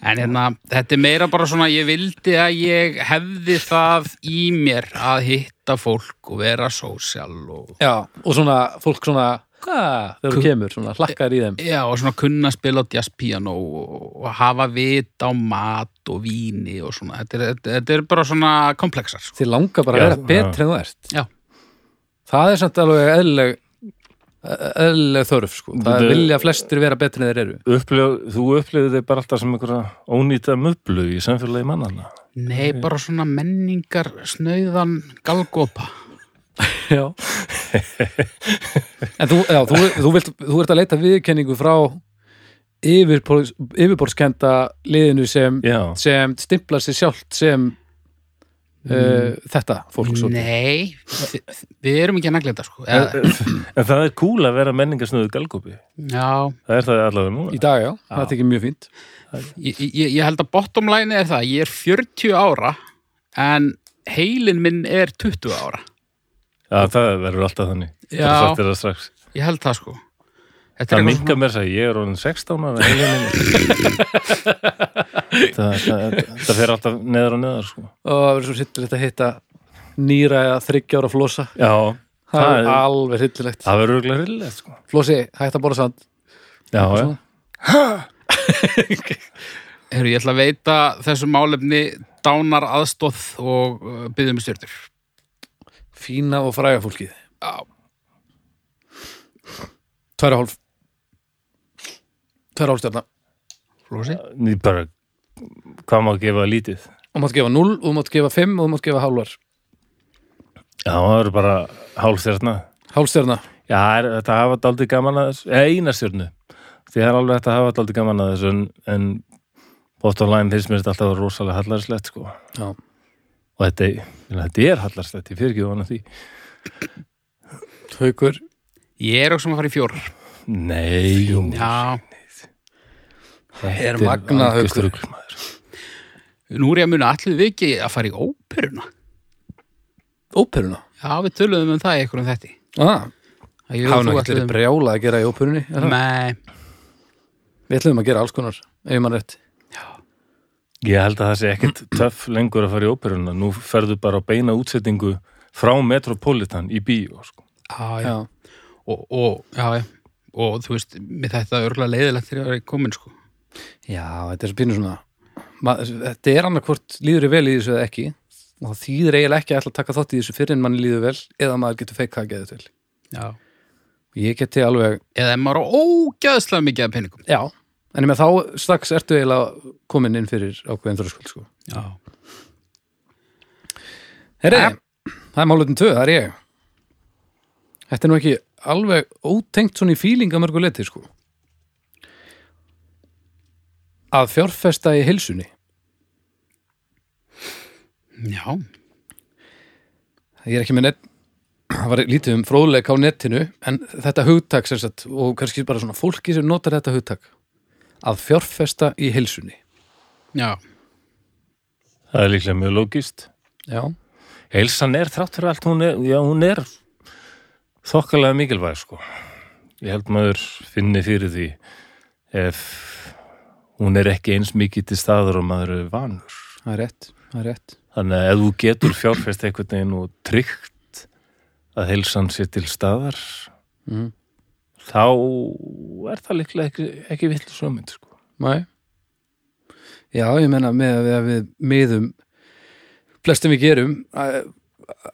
Speaker 1: En hérna, þetta er meira bara svona, ég vildi að ég hefði það í mér að hitta fólk og vera sósjál og...
Speaker 2: Já, og svona, fólk svona hvað, þegar þú
Speaker 1: Kú-
Speaker 2: kemur, svona, hlakkar í þeim
Speaker 1: Já, og svona kunna að spila á jazzpiano og, og hafa vit á mat og víni og svona. Þetta er, þetta, þetta er bara svona komplexar, sko.
Speaker 2: Þið langar bara
Speaker 3: Já,
Speaker 2: að vera betri en þú ert
Speaker 1: Já.
Speaker 2: Það er samt alveg eðlileg eðlileg þörf sko Það
Speaker 3: Þetta-
Speaker 2: vilja flestir vera betri en þeir eru
Speaker 3: upplif, þú upplifir þig bara alltaf sem einhverja ónýta möblu í samfélagi mannana
Speaker 1: Nei, bara svona menningar snauðan galgopa.
Speaker 2: Já En þú, já, þú, þú, vilt, þú ert að leita viðkenningu frá yfirborðs- yfirborðskenda liðinu sem,
Speaker 3: Já,
Speaker 2: sem stimplar sig sjálft sem
Speaker 3: Mm.
Speaker 2: uh, þetta fólk svo
Speaker 1: Nei, vi- við erum ekki að nagla þetta, sko. Eða,
Speaker 3: en það er kúl að vera menningarsnöðu galgópi
Speaker 1: já,
Speaker 3: Það er það allavega
Speaker 2: Í
Speaker 3: núna
Speaker 2: dag, já, það er ekki mjög fínt
Speaker 1: ég, ég, ég held að bottom line er það, ég er 40 ára, en heilin minn er 20 ára.
Speaker 3: Já, það verður alltaf þannig
Speaker 1: Já.
Speaker 3: Það er sagt þér það strax
Speaker 1: Ég held það, sko. Þetta
Speaker 3: Það
Speaker 1: er
Speaker 3: minga
Speaker 1: eitthvað
Speaker 3: mér þess að ég er orðin 16 ára það, það, það, það fer alltaf neðar og neðar sko.
Speaker 2: og það verður svo sittilegt að hitta nýra eða þryggjára flosa
Speaker 3: Já,
Speaker 2: það
Speaker 3: það,
Speaker 2: er alveg hryllilegt
Speaker 1: Ah.
Speaker 3: það verður örugglega rillilegt sko.
Speaker 2: Flósi, hægt að bóra sand
Speaker 3: Já, já,
Speaker 2: Svona.
Speaker 1: svona, heyrðu, ég ætla að veita þessu málefni dánar aðstóð og uh, byggjum stjórnir.
Speaker 2: Fína og fræga fólkið
Speaker 1: Já.
Speaker 2: Tværa hálf Tværa hálf stjarna
Speaker 1: Flósi?
Speaker 3: Ég bara, hvað má gefa lítið
Speaker 2: og mátt gefa 0 og þú mátt gefa 5 og þú mátt gefa hálfar
Speaker 3: Já, það verður bara hálf þérna
Speaker 2: Hálfstjarna
Speaker 3: Já, er, þetta hafa daldið gaman að þessu eða eina stjörnu því það er alveg þetta hafa daldið gaman að þessu en, en bottom line finnst mér þetta alltaf rosalega hallarslegt sko.
Speaker 2: Já.
Speaker 3: og þetta, ég meina, þetta er hallarslegt ég fyrir ekki vona því
Speaker 2: Haukur
Speaker 1: Ég er okkur sem að fara í fjórar.
Speaker 3: Nei, jú,
Speaker 1: Já,
Speaker 3: þetta
Speaker 2: er magnað,
Speaker 3: algjört
Speaker 2: Haukur.
Speaker 3: rugl, maður.
Speaker 1: nú er ég að muna allir við ekki að fara í óperuna.
Speaker 2: Óperuna
Speaker 1: Já, við töluðum um það í einhverjum þetta.
Speaker 2: ah,
Speaker 1: Að ég og
Speaker 2: hafa nú
Speaker 1: þú
Speaker 2: ekkert verið
Speaker 1: ætluðum-
Speaker 2: brjála að gera í óperunni er það?
Speaker 1: Nei,
Speaker 2: við ætlum að gera alls konar ef maður rétt
Speaker 3: Ég held að það sé ekkert töff lengur að fara í óperuna. Nú ferðu bara á beina útsettingu frá Metropolitan í bíó, sko.
Speaker 1: á, já.
Speaker 2: já.
Speaker 1: Og, og, já, já. og þú veist, mér þetta er örgulega leiðilegt þegar ég er komin sko.
Speaker 2: já, þetta er svo pínu svona maður, þetta er annarkvort líður í vel í þessu eða ekki og það þýðir eiginlega ekki að ætla að taka þátt í þessu fyrir en manni líður vel eða maður getur feikað að geða til
Speaker 1: Já.
Speaker 2: ég geti alveg,
Speaker 1: Eða ef maður á ógæðslega mikið af peningum.
Speaker 2: já en ég með þá strax ertu eiginlega komin inn fyrir ákveðin þröskuld sko.
Speaker 1: Já.
Speaker 2: Herri, það er málutin 2, það er ég Þetta er nú ekki alveg ótengt svona í fíling að mörgu leti sko að fjárfesta í heilsunni
Speaker 1: Já.
Speaker 2: ég er ekki með nett það var lítið um fróðleik á netinu en þetta hugtak sem sagt og kannski bara svona fólki sem notar þetta hugtak að fjárfesta í heilsunni
Speaker 1: Já.
Speaker 3: Það er líklega mjög lógist.
Speaker 2: já,
Speaker 3: Heilsan er þrátt fyrir allt, hún er, já, hún er þokkalega mikilvæg, sko. Ég held maður finni fyrir því ef hún er ekki eins mikið til staðar og maður er vanur.
Speaker 2: það er rétt það er rétt,
Speaker 3: Þannig að ef þú getur fjárfest einhvern veginn og tryggt að heilsan sé til staðar
Speaker 2: Mhm.
Speaker 3: þá er það líklega ekki, ekki villu sömynd sko.
Speaker 2: mæ já, ég menna með að við, að við miðum flestum við gerum að-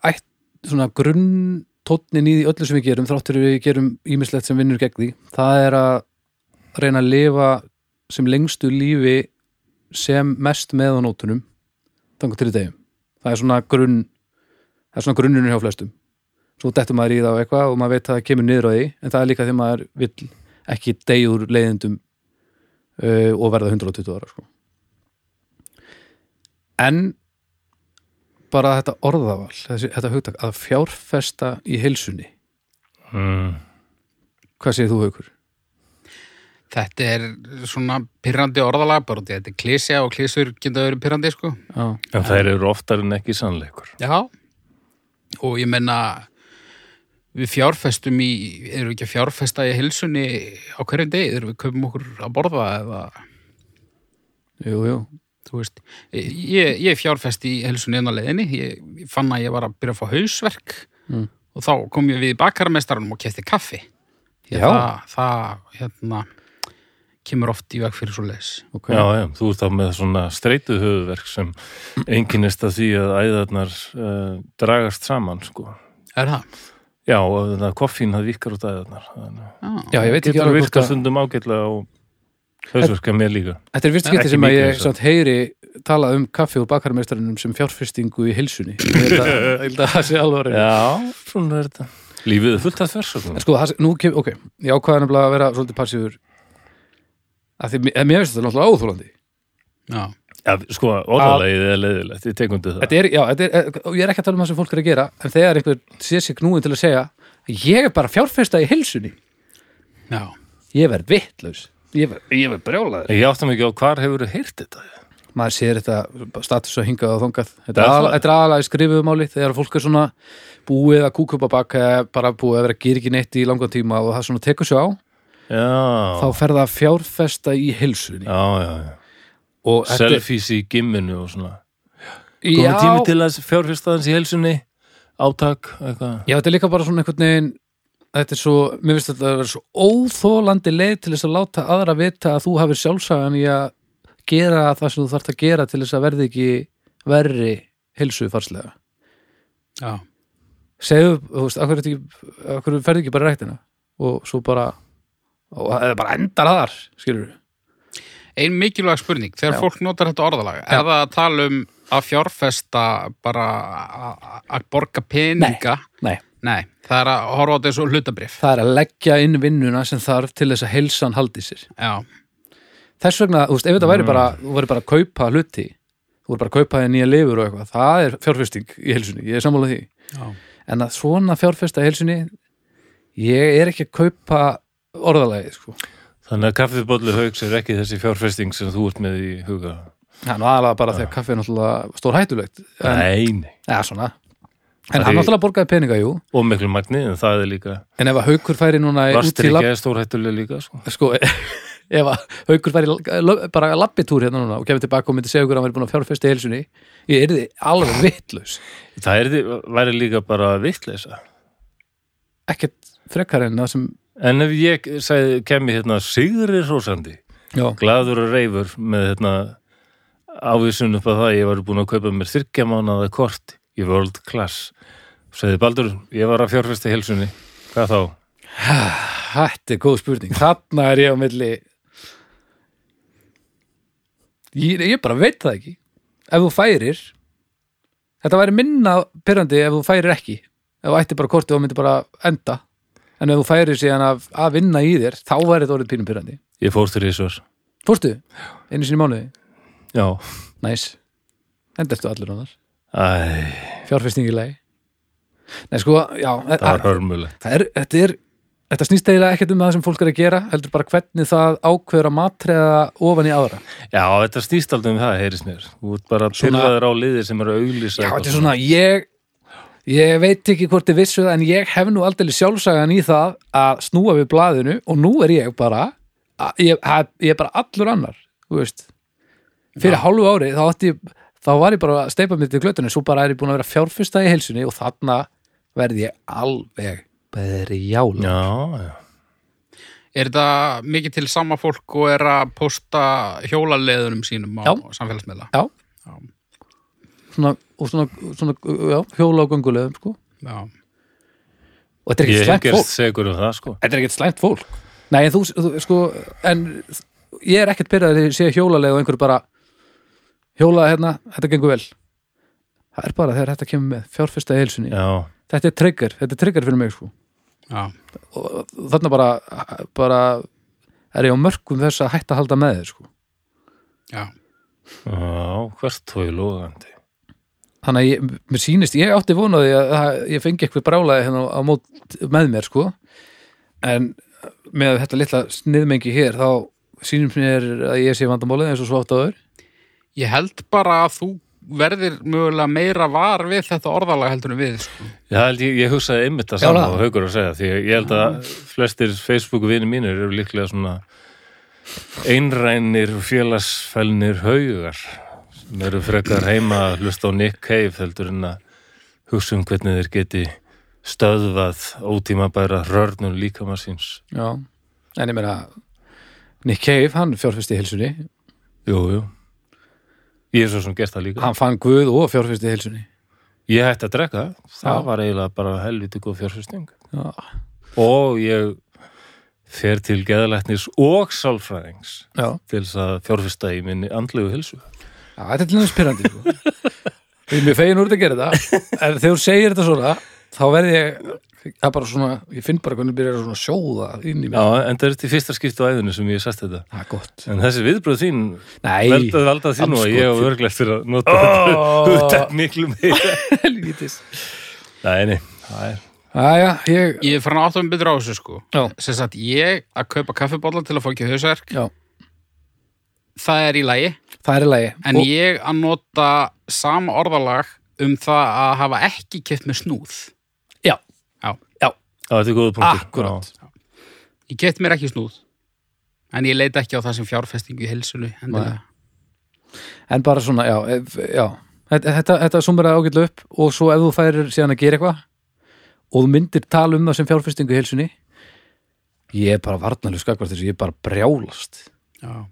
Speaker 2: ætt svona grunn tónnin í því öllu sem við gerum þráttur við gerum ímislegt sem vinnur gegn því það er að reyna að lifa sem lengstu lífi sem mest með á nótunum þangar til í degum það er svona grunn það er svona grunnunum hjá flestum svo dettur maður í það og eitthvað og maður veit að það kemur niður á því en það er líka þegar maður vill ekki degjur leiðindum uh, og verða 120 ára sko. en bara þetta orðaval þessi, þetta hugtak að fjárfesta í heilsunni
Speaker 3: mm.
Speaker 2: hvað segir þú haukur?
Speaker 1: Þetta er svona pyrrandi orðalag, bara því þetta er klísja og klísur geta verið pyrrandi, sko.
Speaker 2: Já.
Speaker 3: en þær eru oftar en ekki sannleikur
Speaker 1: Já. Og ég menna, við fjárfestum í, erum við ekki að fjárfesta í hilsunni á hverjum degi, erum við kaupum okkur að borða eða,
Speaker 2: Jú, jú.
Speaker 1: þú veist, ég, ég fjárfesti í hilsunni enn á leiðinni, ég fann að ég var að byrja að fá hausverk
Speaker 2: Mm.
Speaker 1: og þá kom ég við bakarmestaranum og kefti kaffi. Því að
Speaker 2: Já.
Speaker 1: Það, það, hérna, kemur oft í veg fyrir svo leis.
Speaker 2: ok
Speaker 3: já, já, þú ert þá með svona streitu höfuverk sem enginnist að því að æðarnar uh, dragast saman sko.
Speaker 1: Er það?
Speaker 3: já, og það koffín það vikar út æðarnar Þannig
Speaker 2: Já,
Speaker 3: að
Speaker 2: ég veit ekki
Speaker 3: getur
Speaker 2: alveg hvort
Speaker 3: virkað
Speaker 2: að,
Speaker 3: stundum ágætlega og hausverka mér líka
Speaker 2: þetta er fyrst
Speaker 3: Ekki
Speaker 2: getið sem að
Speaker 3: mikið sko.
Speaker 2: ég
Speaker 3: þessu.
Speaker 2: samt heyri tala um kaffi og bakarmeistarinnum sem fjárfestingu í heilsunni Ég held að- ég held að það sé alveg reyna
Speaker 3: já, svona er þetta lífið er fullt af þversögnum
Speaker 2: En sko, það, nú kem, ok, ég ákvaða nefnilega að vera svolítið passífur að því, en mér finnst þetta náttúrulega óþólandi
Speaker 1: Já.
Speaker 3: Já, sko, orðalegið er leiðilegt, ég tekum undir það.
Speaker 2: Þetta er, já, þetta er, og ég er ekki að tala um það sem fólk er að gera en þegar einhver sé sig knúin til að segja ég er bara fjárfesta í heilsunni
Speaker 1: Já.
Speaker 2: ég verð vittlaus ég verð, ég verð brjálaður
Speaker 3: Ég átta mikið á hvar hefur heyrt þetta.
Speaker 2: maður sér þetta bara status að hingað og þangað þetta
Speaker 3: Það
Speaker 2: er
Speaker 3: er
Speaker 2: aðal-
Speaker 3: það.
Speaker 2: þetta er aðalega í skrifumáli þegar fólk er svona búið að kúka upp að baka eða bara búið að vera að gera ekki neitt í langan tíma og það svona tekur svo á
Speaker 3: Já,
Speaker 2: þá fer það að fjárfesta í heilsunni
Speaker 3: já, já. já.
Speaker 2: og þetta er-
Speaker 3: Selfies í gimminu og svona. Komum
Speaker 2: já,
Speaker 3: tími til að fjárfyrstaðans í helsunni, átak, eitthvað.
Speaker 2: Já, þetta er líka bara svona einhvern veginn þetta er svo, mér finnst þetta að vera svo óþólandi leið til þess að láta aðra vita að þú hafir sjálfsagan í að gera það sem þú þarft að gera til þess að verði ekki verri heilsu farslega.
Speaker 1: Já.
Speaker 2: Segðu, þú veist, akkur, ekki, akkur ferði ekki bara í ræktina og svo bara og það er bara endar aðar, skilur við.
Speaker 1: Ein mikilvæg spurning, þegar
Speaker 2: Já.
Speaker 1: fólk notar þetta orðalag, er það að tala um að fjárfesta bara að- að borga peninga?
Speaker 2: Nei,
Speaker 1: Nei, það er að horfa á þetta eins og hlutabrif.
Speaker 2: það er að leggja inn vinnuna sem þarf til þess að heilsan haldi sér.
Speaker 1: Já,
Speaker 2: þess vegna, þú veist, ef þetta
Speaker 3: Mm.
Speaker 2: væri bara þú væri bara að kaupa hluti þú væri bara að kaupa þér nýja lifur og eitthvað það er fjárfesting í helsunni, ég er sammála því
Speaker 1: já,
Speaker 2: en að svona fjárfesta í helsunni ég er ekki að kaupa orðalagið, sko
Speaker 3: Þannig að kaffibollu haugs er ekki þessi fjárfyrsting sem þú ert með í huga.
Speaker 2: það er nú aðalega bara þegar kaffi er náttúrulega stór hættulegt en,
Speaker 3: Nei, nei.
Speaker 2: eða svona, en hann
Speaker 3: Því-
Speaker 2: náttúrulega borgaði peninga, jú
Speaker 3: og miklu magni, en það er líka
Speaker 2: en ef að haukur færi núna í- út
Speaker 3: Vastir
Speaker 2: í
Speaker 3: ekki
Speaker 2: lapp
Speaker 3: eða stórhættulega líka sko.
Speaker 2: sko, ef að haukur færi í la- bara lappitúr hérna núna og kemur tilbaka og myndi segja ykkur að hann væri búin að fjárfesta í helsunni ég er alveg vitlaus
Speaker 3: Það er, væri líka bara vitleisa
Speaker 2: ekkert frekar en það sem
Speaker 3: En ef ég segi, kemi hérna Sigri Rósandi,
Speaker 2: já,
Speaker 3: gladur og reifur með hérna ávísun upp að það, ég var búin að kaupa mér þyrkja mánaða kort í World Class Segði Baldur, ég var að fjárfesta í helsunni Hvað þá?
Speaker 2: þetta er góð spurning þarna er ég á milli ég, ég bara veit það ekki ef þú færir þetta væri minna pyrrandi ef þú færir ekki ef þú ætti bara kortið og myndi bara enda en ef þú færir síðan að, að vinna í þér þá væri þetta orðið pínum pyrrandi
Speaker 3: Ég fór til Ísvar
Speaker 2: fórstu, einu sinni í mánuði
Speaker 3: Já,
Speaker 2: næs, endastu allir annar
Speaker 3: æ,
Speaker 2: fjárfestingilegi Nei sko, já,
Speaker 3: það var hörmulegt
Speaker 2: það er, þetta er þetta snýst eiginlega ekkert um það sem fólk er að gera heldur bara hvernig það ákveður að matreða ofan í aðra
Speaker 3: Já, þetta snýst aldrei um það, heyrist mér Þú ert bara
Speaker 2: Svona-
Speaker 3: pyrraður á liðir sem eru að auglýsa
Speaker 2: já,
Speaker 3: eitthvað
Speaker 2: þetta er svona, ég ég veit ekki hvort þið vissu það en ég hef nú aldrei sjálfsagan í það að snúa við blaðinu og nú er ég bara að- ég, að- ég er bara allur annar þú veist fyrir hálfu ári þá átti ég þá var ég bara að steipa mér til glötunni svo bara er ég búin að vera fjárfyrsta í heilsunni og þarna verði ég alveg berjála
Speaker 3: Já, já
Speaker 1: Er þetta mikið til sama fólk og er að posta hjólaleðunum sínum á
Speaker 2: Já.
Speaker 1: samfélagsmiðla?
Speaker 2: Já.
Speaker 1: Já.
Speaker 2: Svona, og svona, svona já, hjóla og göngulegum sko.
Speaker 1: Já.
Speaker 2: og þetta er
Speaker 3: Ég
Speaker 2: ekkert
Speaker 3: hef
Speaker 2: slæmt
Speaker 3: gerst
Speaker 2: fólk
Speaker 3: segur um það, sko
Speaker 2: þetta er ekkert slæmt fólk nei en þú, þú sko en ég er ekkert byrjað að sé hjólalega og einhverju bara hjóla hérna, þetta gengur vel það er bara þegar þetta kemur með fjárfesta heilsunni,
Speaker 3: Já,
Speaker 2: þetta er trigger þetta er trigger fyrir mig sko
Speaker 1: Já.
Speaker 2: og, og þarna bara, bara er ég á mörgum þess að hætta að halda með þér sko
Speaker 1: Já.
Speaker 3: já hvert tói lóðandi
Speaker 2: þannig að ég, mér sýnist, ég átti vonaði að, að ég fengi eitthvað brálaði hérna á mót með mér sko en með þetta litla sniðmengi hér þá sýnum mér að ég sé vandamálið eins og svo átt áður
Speaker 1: Ég held bara að þú verðir mögulega meira var við þetta orðalag heldur en við, sko.
Speaker 3: Já, held ég, ég hugsaði einmitt að saman
Speaker 2: það.
Speaker 3: og haugur að segja því ég held að flestir Facebook-vini mínir eru líklega svona einrænir félagsfælnir haugar sem eru frekar heima að hlusta á Nick Cave heldur en að hugsa um hvernig þeir geti stöðvað ótímabæra rörnum líkama síns
Speaker 2: já, en ég meina Nick Cave, hann fjárfesti hilsunni
Speaker 3: Jú, jú Ég er svo sem gert það líka
Speaker 2: hann fann Guð og fjárfesti hilsunni
Speaker 3: Ég hætti að drekka, það
Speaker 2: Já.
Speaker 3: var eiginlega bara helviti góð fjárfyrsting
Speaker 2: já,
Speaker 3: og ég fer til geðalæknis og sálfræðings
Speaker 2: já,
Speaker 3: til þess að fjárfesta í minni andlegu hilsu.
Speaker 2: já þetta er til næmis pyrrandi sko. ég er mjög fegin úr þetta að gera þetta en þegar þú segir þetta svona þá verði ég, það er bara svona ég finn bara hvernig byrjar að svona sjóða inn í mér
Speaker 3: Já, en það er þetta í fyrsta skipti á æðinu sem ég hef sagt þetta.
Speaker 2: Það er gott.
Speaker 3: En þessi viðbröð þín,
Speaker 2: Nei,
Speaker 3: velda, velda þín og
Speaker 2: andskot
Speaker 3: ég
Speaker 2: þín.
Speaker 3: og örglega eftir að nota þetta hugtak miklu meira.
Speaker 2: helvítis.
Speaker 3: Nei, nei, það er,
Speaker 2: Æja, ég,
Speaker 1: Ég er farin að áttum betur á þessu, sko.
Speaker 2: Já.
Speaker 1: Sess að ég að kaupa kaffibólla til að fá ekki hausverk,
Speaker 2: já,
Speaker 1: það er í lagi.
Speaker 2: það er í lagi.
Speaker 1: En
Speaker 2: Og-
Speaker 1: ég að nota sama orðalag um það að hafa ekki keft með snúð.
Speaker 2: Já,
Speaker 1: Já.
Speaker 2: já,
Speaker 3: á þetta er góða punktur.
Speaker 2: akkurat.
Speaker 3: Já.
Speaker 1: Ég keft mér ekki snúð. En ég leita ekki á það sem fjárfestingu í heilsunu. endilega.
Speaker 2: En bara svona, já, ef- já. Þetta, þetta, þetta sumir að ágætla upp og svo ef þú færir síðan að gera eitthvað og þú myndir tala um það sem fjárfestingu í heilsunni, ég er bara varnalegu skakvart þessu, ég er bara brjálast.
Speaker 1: Já.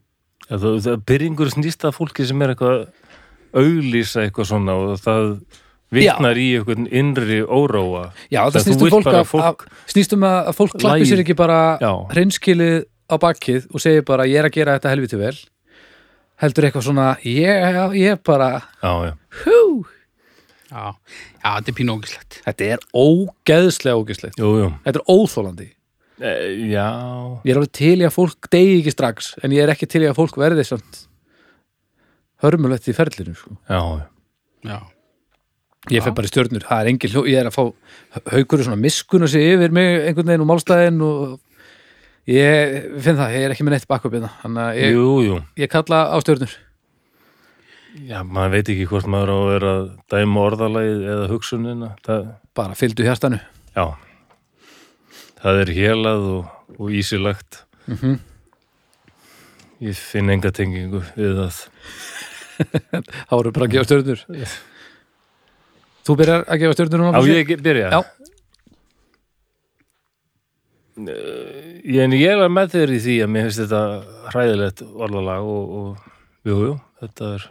Speaker 3: Já, Það, það byrjingur snýst að fólki sem er eitthvað auglýsa eitthvað svona og það vitnar í eitthvað innri óróa.
Speaker 2: Já, það,
Speaker 3: Það þú
Speaker 2: snýst um
Speaker 3: vilt
Speaker 2: fólk,
Speaker 3: bara
Speaker 2: að,
Speaker 3: fólk-
Speaker 2: fólk... Að, snýst um að að fólk klappi
Speaker 3: Lagið.
Speaker 2: sér ekki bara
Speaker 3: Já.
Speaker 2: hreinskilið á bakkið og segir bara ég er að gera þetta helviti vel heldur eitthvað svona, ég, ég bara
Speaker 3: Já, já.
Speaker 2: hú,
Speaker 1: Já. Já, þetta er pínu ógislegt.
Speaker 2: Þetta er ógeðslega ógeðslegt
Speaker 3: Jú, jú.
Speaker 2: Þetta er óþólandi
Speaker 3: E, já.
Speaker 2: Ég er alveg til í að fólk degi ekki strax en ég er ekki til í að fólk verði samt hörmulegt í ferlinu sko.
Speaker 3: Já, já.
Speaker 1: Já.
Speaker 2: Ég fer bara í stjörnur, það er engin hljó ég er að fá haukur svona miskun og sé yfir mig einhvern veginn og málstæðin og hérna.
Speaker 3: Eh,
Speaker 2: ég finn það, ég er ekki með neitt bakkvöp þannig að ég,
Speaker 3: Jú, jú.
Speaker 2: ég kalla á stjörnur
Speaker 3: Já, maður veit ekki hvort maður á að vera að dæma orðalagið eða hugsunina. Það,
Speaker 2: bara fylgdu hjartanu
Speaker 3: já, það er hélað og, og ísilagt. Ég finn enga tengingu við það.
Speaker 2: þá eru bara að gefa stjörnur þú byrjar að gefa stjörnur núna
Speaker 3: Á
Speaker 2: Fúsi?
Speaker 3: ég ekki byrja?
Speaker 2: Já.
Speaker 3: Ég, en ég er með þeir í því að mér finnst þetta hræðilegt orðalag og, og jú, jú, þetta er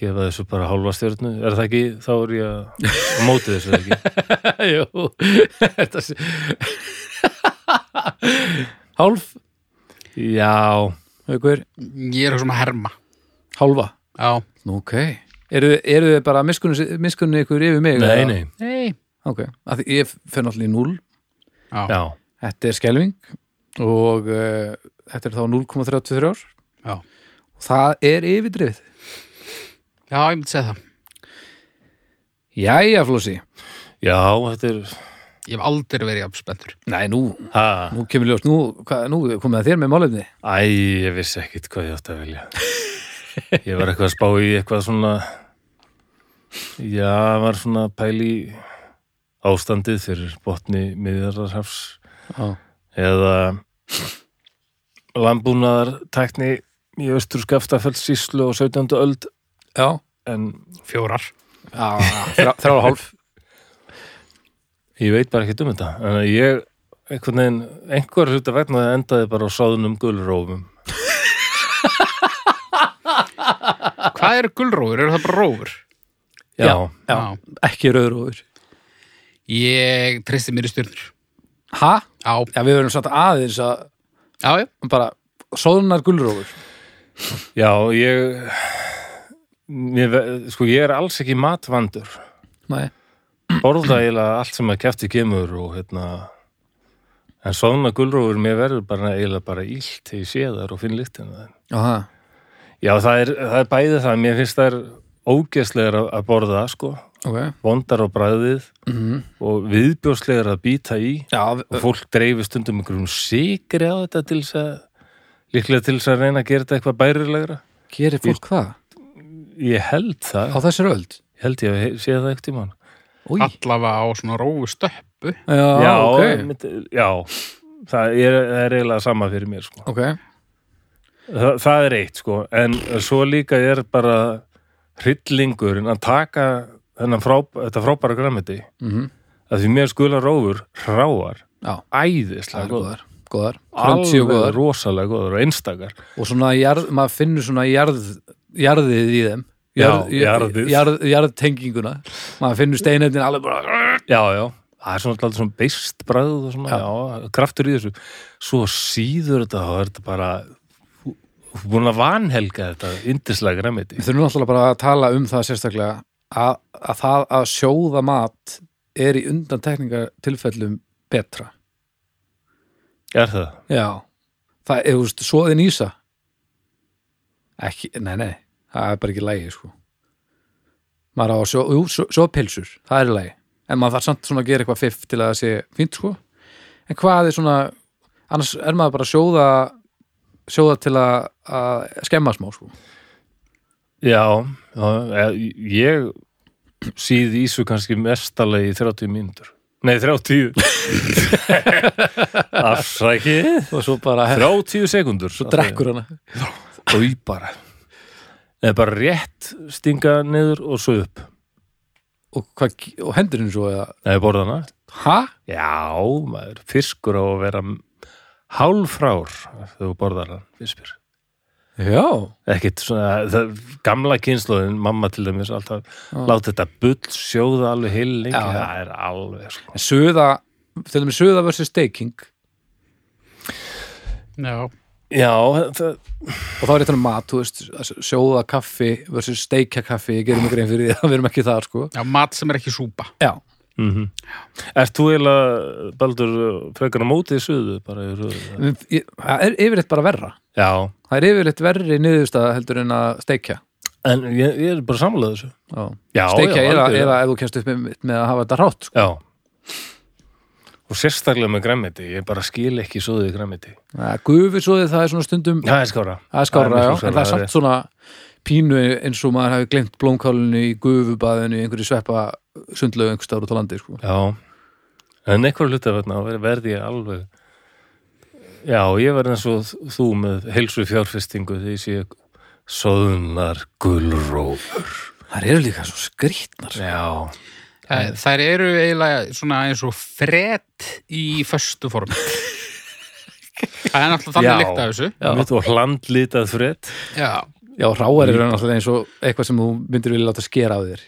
Speaker 3: gefa þessu bara hálfa stjörnu. Er það ekki, þá er ég að á móti þessu er það ekki.
Speaker 2: Jú, þetta sé Hálf
Speaker 3: Já,
Speaker 2: haukur,
Speaker 1: Ég er svona herma.
Speaker 2: hálfa
Speaker 1: Já.
Speaker 2: Nú, ok Eru, eru þið bara miskunni, miskunni ykkur yfir mig?
Speaker 3: nei,
Speaker 2: eða?
Speaker 3: nei,
Speaker 1: Nei.
Speaker 2: Ok, af því ég fer náttúrulega í 0
Speaker 1: Já.
Speaker 3: já,
Speaker 2: Þetta er skelving og uh, þetta er þá 0,33 ár
Speaker 1: Já.
Speaker 2: Það er yfirdrifið
Speaker 1: Já, ég myndi segja það.
Speaker 2: Jæja, Flósi
Speaker 3: já, þetta er,
Speaker 1: Ég hef aldrei verið jafnspendur.
Speaker 2: Nei, nú,
Speaker 3: ha,
Speaker 2: nú kemur ljós Nú, hvað, nú er komið að þér með málefni
Speaker 3: æ, ég vissi ekkit hvað ég átti að vilja. Ég var eitthvað að spá í eitthvað svona, já, var svona pæli ástandið fyrir botni miðjararhafs
Speaker 2: Já,
Speaker 3: eða landbúnaðartækni í Östur Skaftafells síslu og 17. öld
Speaker 2: já,
Speaker 3: en
Speaker 1: Fjórar.
Speaker 2: já þrjá, þrjá og hálf
Speaker 3: ég veit bara ekki um þetta en ég, einhvern veginn, einhver hluta vegna það endaði bara á sáðunum gulrófum
Speaker 1: Hvað eru gulrófur? Eru það bara rófur?
Speaker 3: já,
Speaker 2: Já, ekki rauður og
Speaker 1: Ég treysti mér í stjörnur.
Speaker 2: Ha?
Speaker 1: Já.
Speaker 2: Já, við verðum samt aðeins að
Speaker 1: Já, já.
Speaker 2: bara sóðunar gulrófur
Speaker 3: já, ég mér, ve- sko ég er alls ekki matvandur
Speaker 2: Nei,
Speaker 3: borða eiginlega allt sem að kæfti kemur og hérna en svona gulrófur mér verður bara eiginlega bara illt þegar ég sé þar og finn lyktina þeim
Speaker 2: já það
Speaker 3: Já, það er, það er bæði það. Mér finnst það er ógeðslegar að að borða, sko.
Speaker 2: Ok
Speaker 3: Vondar á bræðið
Speaker 2: Mhm.
Speaker 3: og viðbjóðslegar að býta í.
Speaker 2: Já,
Speaker 3: Og fólk dreifir stundum einhverjum sigri á þetta til þess að, líklega til þess að reyna að gera þetta eitthvað bærilegra.
Speaker 2: gerir fólk það?
Speaker 3: Ég held það.
Speaker 2: Á þessari öld?
Speaker 3: Ég held ég að sé það eitthvað í mann.
Speaker 2: Új
Speaker 3: Ah.
Speaker 1: Allafa á svona rófu stöppu.
Speaker 2: Já, ok
Speaker 3: mitt, já. Það er, það er eiginlega sama fyrir mér, sko.
Speaker 2: Ok,
Speaker 3: Þa, það er eitt sko, en svo líka er bara hryllingurinn að taka þennan fráb, þetta frábæra græmiti mm
Speaker 2: Mhm.
Speaker 3: að því mér skula rófur hráar,
Speaker 2: já, það
Speaker 3: æðislega
Speaker 2: er góðar
Speaker 3: góðar
Speaker 2: Góðar, kröntsí og
Speaker 3: alveg
Speaker 2: góðar
Speaker 3: rosalega góðar og einstakar
Speaker 2: Og svona, jarð, maður finnur svona jarð, jarðið í þeim
Speaker 3: Já, jarðið.
Speaker 2: jarð, Jarðtenginguna Maður finnur steinefnin alveg bara
Speaker 3: já, já, það er svona alltaf svona beist bræð og svona,
Speaker 2: Já.
Speaker 3: já. kraftur í þessu svo síður þetta þá er þetta bara þú- þú ert búin að vanhelga þetta yndislega græmiti
Speaker 2: Við þurfum náttúrulega bara að tala um það sérstaklega að, að það að sjóða mat er í undan tekningartilfellum betra
Speaker 3: er það?
Speaker 2: Já, það er, þú veist, svoðin ísa Ekki, nei, nei Það er bara ekki lægi, sko Maður á að sjó, jú, sjó, sjópilsur Það er í lægi, en maður þarf samt svona að gera eitthvað fiff til að það sé fínt, sko En hvað er svona, annars er maður bara að sjóða sjóða til að, að skemma smá, sko
Speaker 3: Já, já ég- ég síð Ísu kannski mestalegi í 30 mínútur. Nei, 30. Afsækið.
Speaker 2: Og svo bara,
Speaker 3: 30 sekundur. Svo
Speaker 2: drekkur hana
Speaker 3: Og í bara. Eða bara rétt stinga niður og svo upp.
Speaker 2: Og, hvað, ge- og hendurinn svo eða,
Speaker 3: Nei, borðana.
Speaker 2: ha?
Speaker 3: Já, maður fiskur á að vera hálfrár þegar þú borðar hann, fiskir.
Speaker 2: Já,
Speaker 3: ekkert svona, það, gamla kynsluðin mamma til dæmis alltaf, láta þetta bull sjóða alveg heil lengi,
Speaker 2: Já, já.
Speaker 3: það er alveg sko.
Speaker 2: en suða til dæmis suða versus steiking
Speaker 1: Já.
Speaker 3: Já, það,
Speaker 2: og þá er þetta um mat, þú veist, að sjóða kaffi versus steikja kaffi, ég gerum mig grein fyrir því að við erum ekki þar, sko.
Speaker 1: Já, mat sem er ekki súpa.
Speaker 2: Já,
Speaker 3: mm -hmm. Ert þú eiginlega, Baldur, frekar á mótið suðu bara í röðu?
Speaker 2: En ég- það er yfirleitt bara verra.
Speaker 3: Já,
Speaker 2: Það er yfirleitt verri niðurstaða heldur en að steikja.
Speaker 3: en ég, ég er bara samlega þessu.
Speaker 2: Já,
Speaker 3: Já,
Speaker 2: steikja
Speaker 3: já,
Speaker 2: eða,
Speaker 3: algjörlega.
Speaker 2: eða ef þú kemst upp með, með að hafa þetta rátt, sko.
Speaker 3: Já. Og sérstaklega með græmiti, ég bara skil ekki suðu í græmiti.
Speaker 2: Gufið svo þið það er svona stundum,
Speaker 3: Það er skára.
Speaker 2: það er skára,
Speaker 3: miklu
Speaker 2: já, en það er
Speaker 3: skárra,
Speaker 2: samt svona, pínu eins og maður hafi glemt blómkálinu í gufubaðinu í einhverju sveppa sundlögu einhvers staðar út á landi sko.
Speaker 3: Já, en einhver hluta vegna ver- verði ég alveg Já, ég verði eins og þ- þú með heilsu fjárfestingu því sé soðnar gulrófur
Speaker 2: Það eru líka svo skrýtnar
Speaker 3: Já,
Speaker 1: Eh, Þær eru eiginlega svona eins og fred í föstu form. Það er náttúrulega
Speaker 3: Já.
Speaker 1: þannig líkt af þessu.
Speaker 3: já. mitt og hlandlitað frett
Speaker 1: Já.
Speaker 2: Já, ráar eru náttúrulega eins og eitthvað sem þú myndir vilja láta skera af þér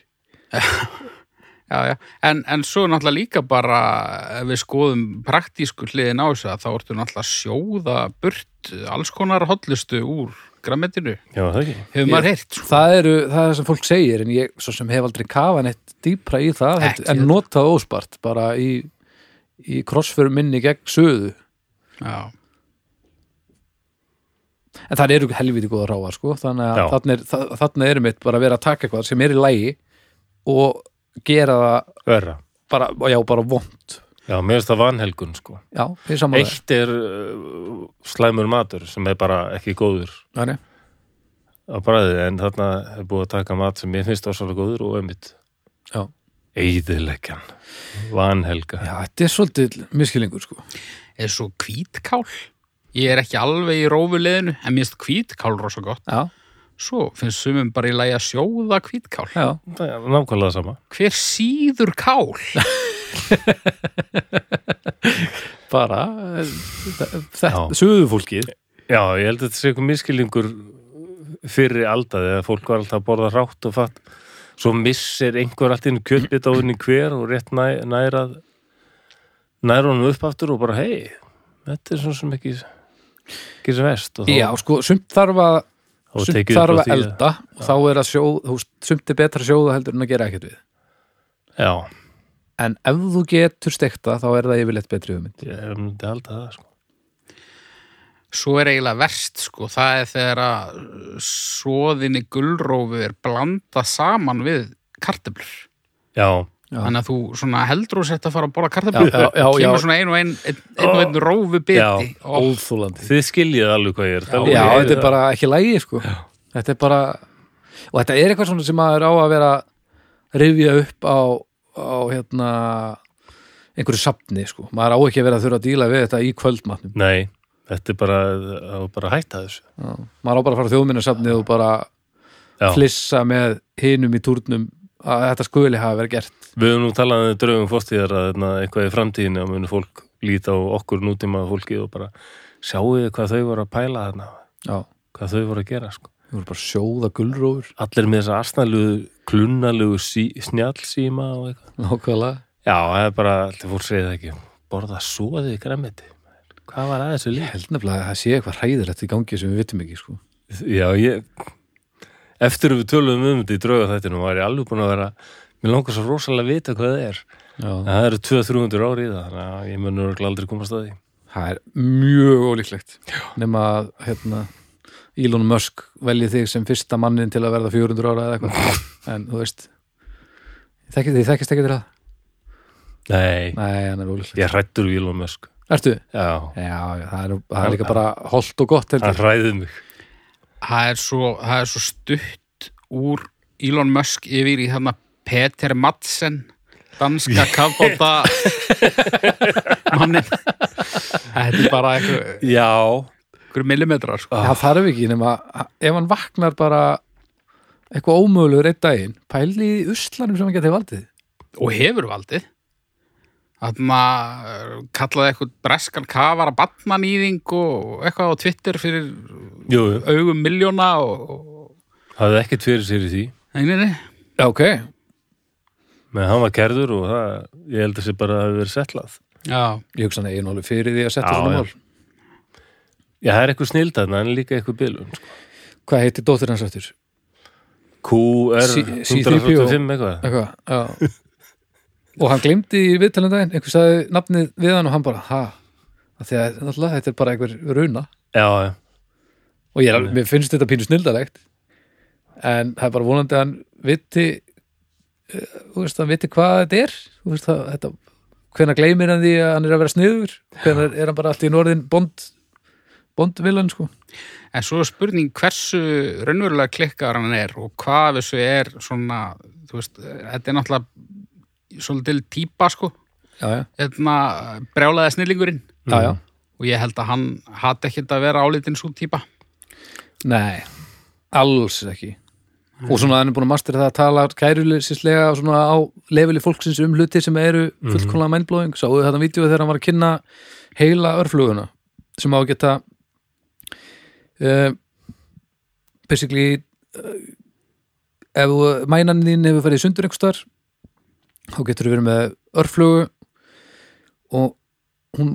Speaker 1: Já, já. En, en svo er náttúrulega líka bara ef við skoðum praktísku hliðin á þessu að þá ertu náttúrulega að sjóða burt alls konar hotlustu úr grammetinu.
Speaker 3: Já, það ekki
Speaker 1: Hefur maður heyrt, sko.
Speaker 2: Það eru, það er það sem fólk segir en ég svo sem hef aldrei kafað neitt dýpra í það
Speaker 1: Ekki
Speaker 2: en
Speaker 1: heldur.
Speaker 2: notað óspart bara í, í krossförum minni gegn söðu
Speaker 1: Já.
Speaker 2: en það eru helviti góða ráar sko þannig
Speaker 3: Já.
Speaker 2: að þannig er, þa- þarna er mitt bara að vera að taka eitthvað sem er í lægi og gera það
Speaker 3: Verra
Speaker 2: bara, já, bara vond
Speaker 3: Já, mér finnst það vanhelgun sko
Speaker 2: já, ég er saman
Speaker 3: Eitt er uh, slæmur matur sem er bara ekki góður
Speaker 2: það Nei,
Speaker 3: á bræðið en þarna er búið að taka mat sem mér finnst ásvalega góður og ömmit
Speaker 2: Já.
Speaker 3: Eyðileggjan Vanhelga
Speaker 2: já, þetta er svolítið miskilingur sko
Speaker 1: Eða svo hvítkál. Ég er ekki alveg í rófuleginu en mér finnst hvítkál rosa gott.
Speaker 2: já,
Speaker 1: Svo finnst sumum bara í lagi að sjóða hvítkál.
Speaker 2: já,
Speaker 3: Það er nákvæmlega sama
Speaker 1: Hver síður kál?
Speaker 2: bara eh, þetta,
Speaker 3: Já.
Speaker 2: söðu fólkið
Speaker 3: Já, ég held að þetta sé eitthvað miskilingur fyrir aldaði að fólk var alltaf að borða rátt og fatt svo missir einhver allt inn kjöldbit á henni hver og rétt næ, nærað nær honum upp aftur og bara hei, þetta er svona sem ekki ekki sem vest og þá,
Speaker 2: já, sko, sumt þarf að
Speaker 3: þá er
Speaker 2: sumt
Speaker 3: tekið upp
Speaker 2: þarf
Speaker 3: á
Speaker 2: að
Speaker 3: því að-
Speaker 2: elda og þá er að sjóð, þú veist, sumt er betra að sjóða heldur en að gera ekkert við
Speaker 3: Já,
Speaker 2: en ef þú getur stekta þá er það yfirleitt betri hugmynd
Speaker 3: ég er myndi að halda það sko.
Speaker 1: Svo er eiginlega verst sko, það er þegar að svoðinni gulrófu er blanda saman við kartöblur.
Speaker 3: Já,
Speaker 2: Já.
Speaker 1: Þannig að þú svona heldur og sett að fara að borða kartöblur.
Speaker 2: Já, já, já, já.
Speaker 1: Kemur svona ein og ein, ein, ein, og ein rófu biti.
Speaker 3: Já.
Speaker 1: Ó,
Speaker 2: óþúlandi
Speaker 3: þið skiljið alveg hvað ég er að tala um.
Speaker 2: Já,
Speaker 3: Ég
Speaker 2: þetta er
Speaker 3: það.
Speaker 2: bara ekki lægi sko. Þetta er bara og þetta er eitthvað svona sem maður á að vera rifja upp á, á hérna einhverju safni, sko. Maður á ekki að vera að þurfa að díla við þetta í kvöldmatnum.
Speaker 3: Nei, þetta er bara, það er bara að hætta þessu
Speaker 2: Já. Maður á bara að fara á þjóðminnarsafni og bara
Speaker 3: Já.
Speaker 2: flissa með hinum í túrnum að þetta skuli hafa verið gert.
Speaker 3: Við höfum nú talað um draugum fórstíðar að hérna, eitthvað í framtíðinu að muni fólk líta á okkur nútíma fólki og bara sjáu þið hvað þau voru að pæla þarna,
Speaker 2: Já,
Speaker 3: hvað þau voru að gera sko.
Speaker 2: við vorum bara að sjóða gulrófur
Speaker 3: Allir með þess að arsnalugu, klunnalugu sí, snjallsíma og eitthvað.
Speaker 2: nákvæmlega.
Speaker 3: Já, það er bara, allir fólk segir það ekki, borða svoðið í græmiti. Hvað var aðeins við
Speaker 2: Ég
Speaker 3: líf?
Speaker 2: held nefnilega að það sé eitthvað hræðilegt í gangi sem við vitum ekki, sko.
Speaker 3: Já, ég, eftir að við töluðum um þetta í drauga þættinu var ég alveg búin að vera, mér langar svo rosalega að vita hvað það er. En
Speaker 2: Já.
Speaker 3: Það eru 200-300 ári í það, þannig að ég mun örugglega aldrei komast að því.
Speaker 2: Það er mjög ólíklegt nema að hérna, Elon Musk velji þig sem fyrsta mannin til að verða 400 ára eða eitthvað en þú veist þekkið þið þekkist ekki til það?
Speaker 3: Nei,
Speaker 2: Nei, hann er ólíklegt.
Speaker 3: ég hrættur Elon Musk.
Speaker 2: Ertu?
Speaker 3: Já,
Speaker 2: Já, já, það er, það er líka bara holdt og gott
Speaker 3: hann
Speaker 2: heldur.
Speaker 3: hræðið mig.
Speaker 1: það, er svo, það er svo stutt úr Elon Musk yfir í þarna Peter Madsen, danska kafbóta mannin. Þetta er bara einhver,
Speaker 3: Já,
Speaker 1: einhver millimetrar sko.
Speaker 2: Það þarf ekki nema ef hann vaknar bara eitthvað ómögulegur einn daginn pæli í uslanum sem hann getið valdið
Speaker 1: og hefur valdið þannig að kallaði eitthvað breskan kafara batmanýðing og eitthvað á Twitter fyrir
Speaker 3: jú,
Speaker 1: augum miljóna og, og
Speaker 3: hafði ekkert fyrir sér í því.
Speaker 1: nei, nei, nei.
Speaker 2: Já, ok.
Speaker 3: Men hann var kerður og það, ég held að þessi bara hafi verið settlað.
Speaker 1: Já,
Speaker 2: Ég hugsa hann eigin alveg fyrir því að setja
Speaker 3: Já,
Speaker 2: svona
Speaker 3: já.
Speaker 2: mál.
Speaker 3: Já, það er eitthvað snildarn, en líka eitthvað bilun. Sko.
Speaker 2: Hvað heitir dóttir hans eftir?
Speaker 3: QR
Speaker 2: Sí-
Speaker 3: 145 eitthvað.
Speaker 2: eitthvað, já og hann glemdi í viðtalendaginn einhver sagði nafnið við hann og hann bara ha, af því að alltaf, þetta er bara einhver runa
Speaker 3: Já, já.
Speaker 2: og ég er alveg, mér finnst þetta pínu snildalegt en það er bara vonandi að hann viti eh, þú veist, hann viti hvað þetta er þú veist, það, þetta, hvenær gleymir hann því að hann er að vera sniður hvenær er hann bara allt í norðin bond bondvillan sko
Speaker 1: En svo er spurning hversu raunverulega klikkar hann er og hvað af þessu er svona, þú veist, þetta er náttúrulega svolítil típa, sko,
Speaker 2: já, já,
Speaker 1: hérna brjálaði snillingurinn
Speaker 2: já, já.
Speaker 1: og ég held að hann hatt ekkert að vera álítinn svo típa.
Speaker 2: Nei, alls ekki og svona hann er búin að mastera það að tala kærulisislega og svona á lefili fólksins um hluti sem eru fullkomlega mindblowing sáuðu þetta vídeo þegar hann var að kynna heila örfluguna sem á að geta uh, basically uh, ef þú- mænan þín hefur farið í sundur einhverstar þá getur þú verið með örflugu og hún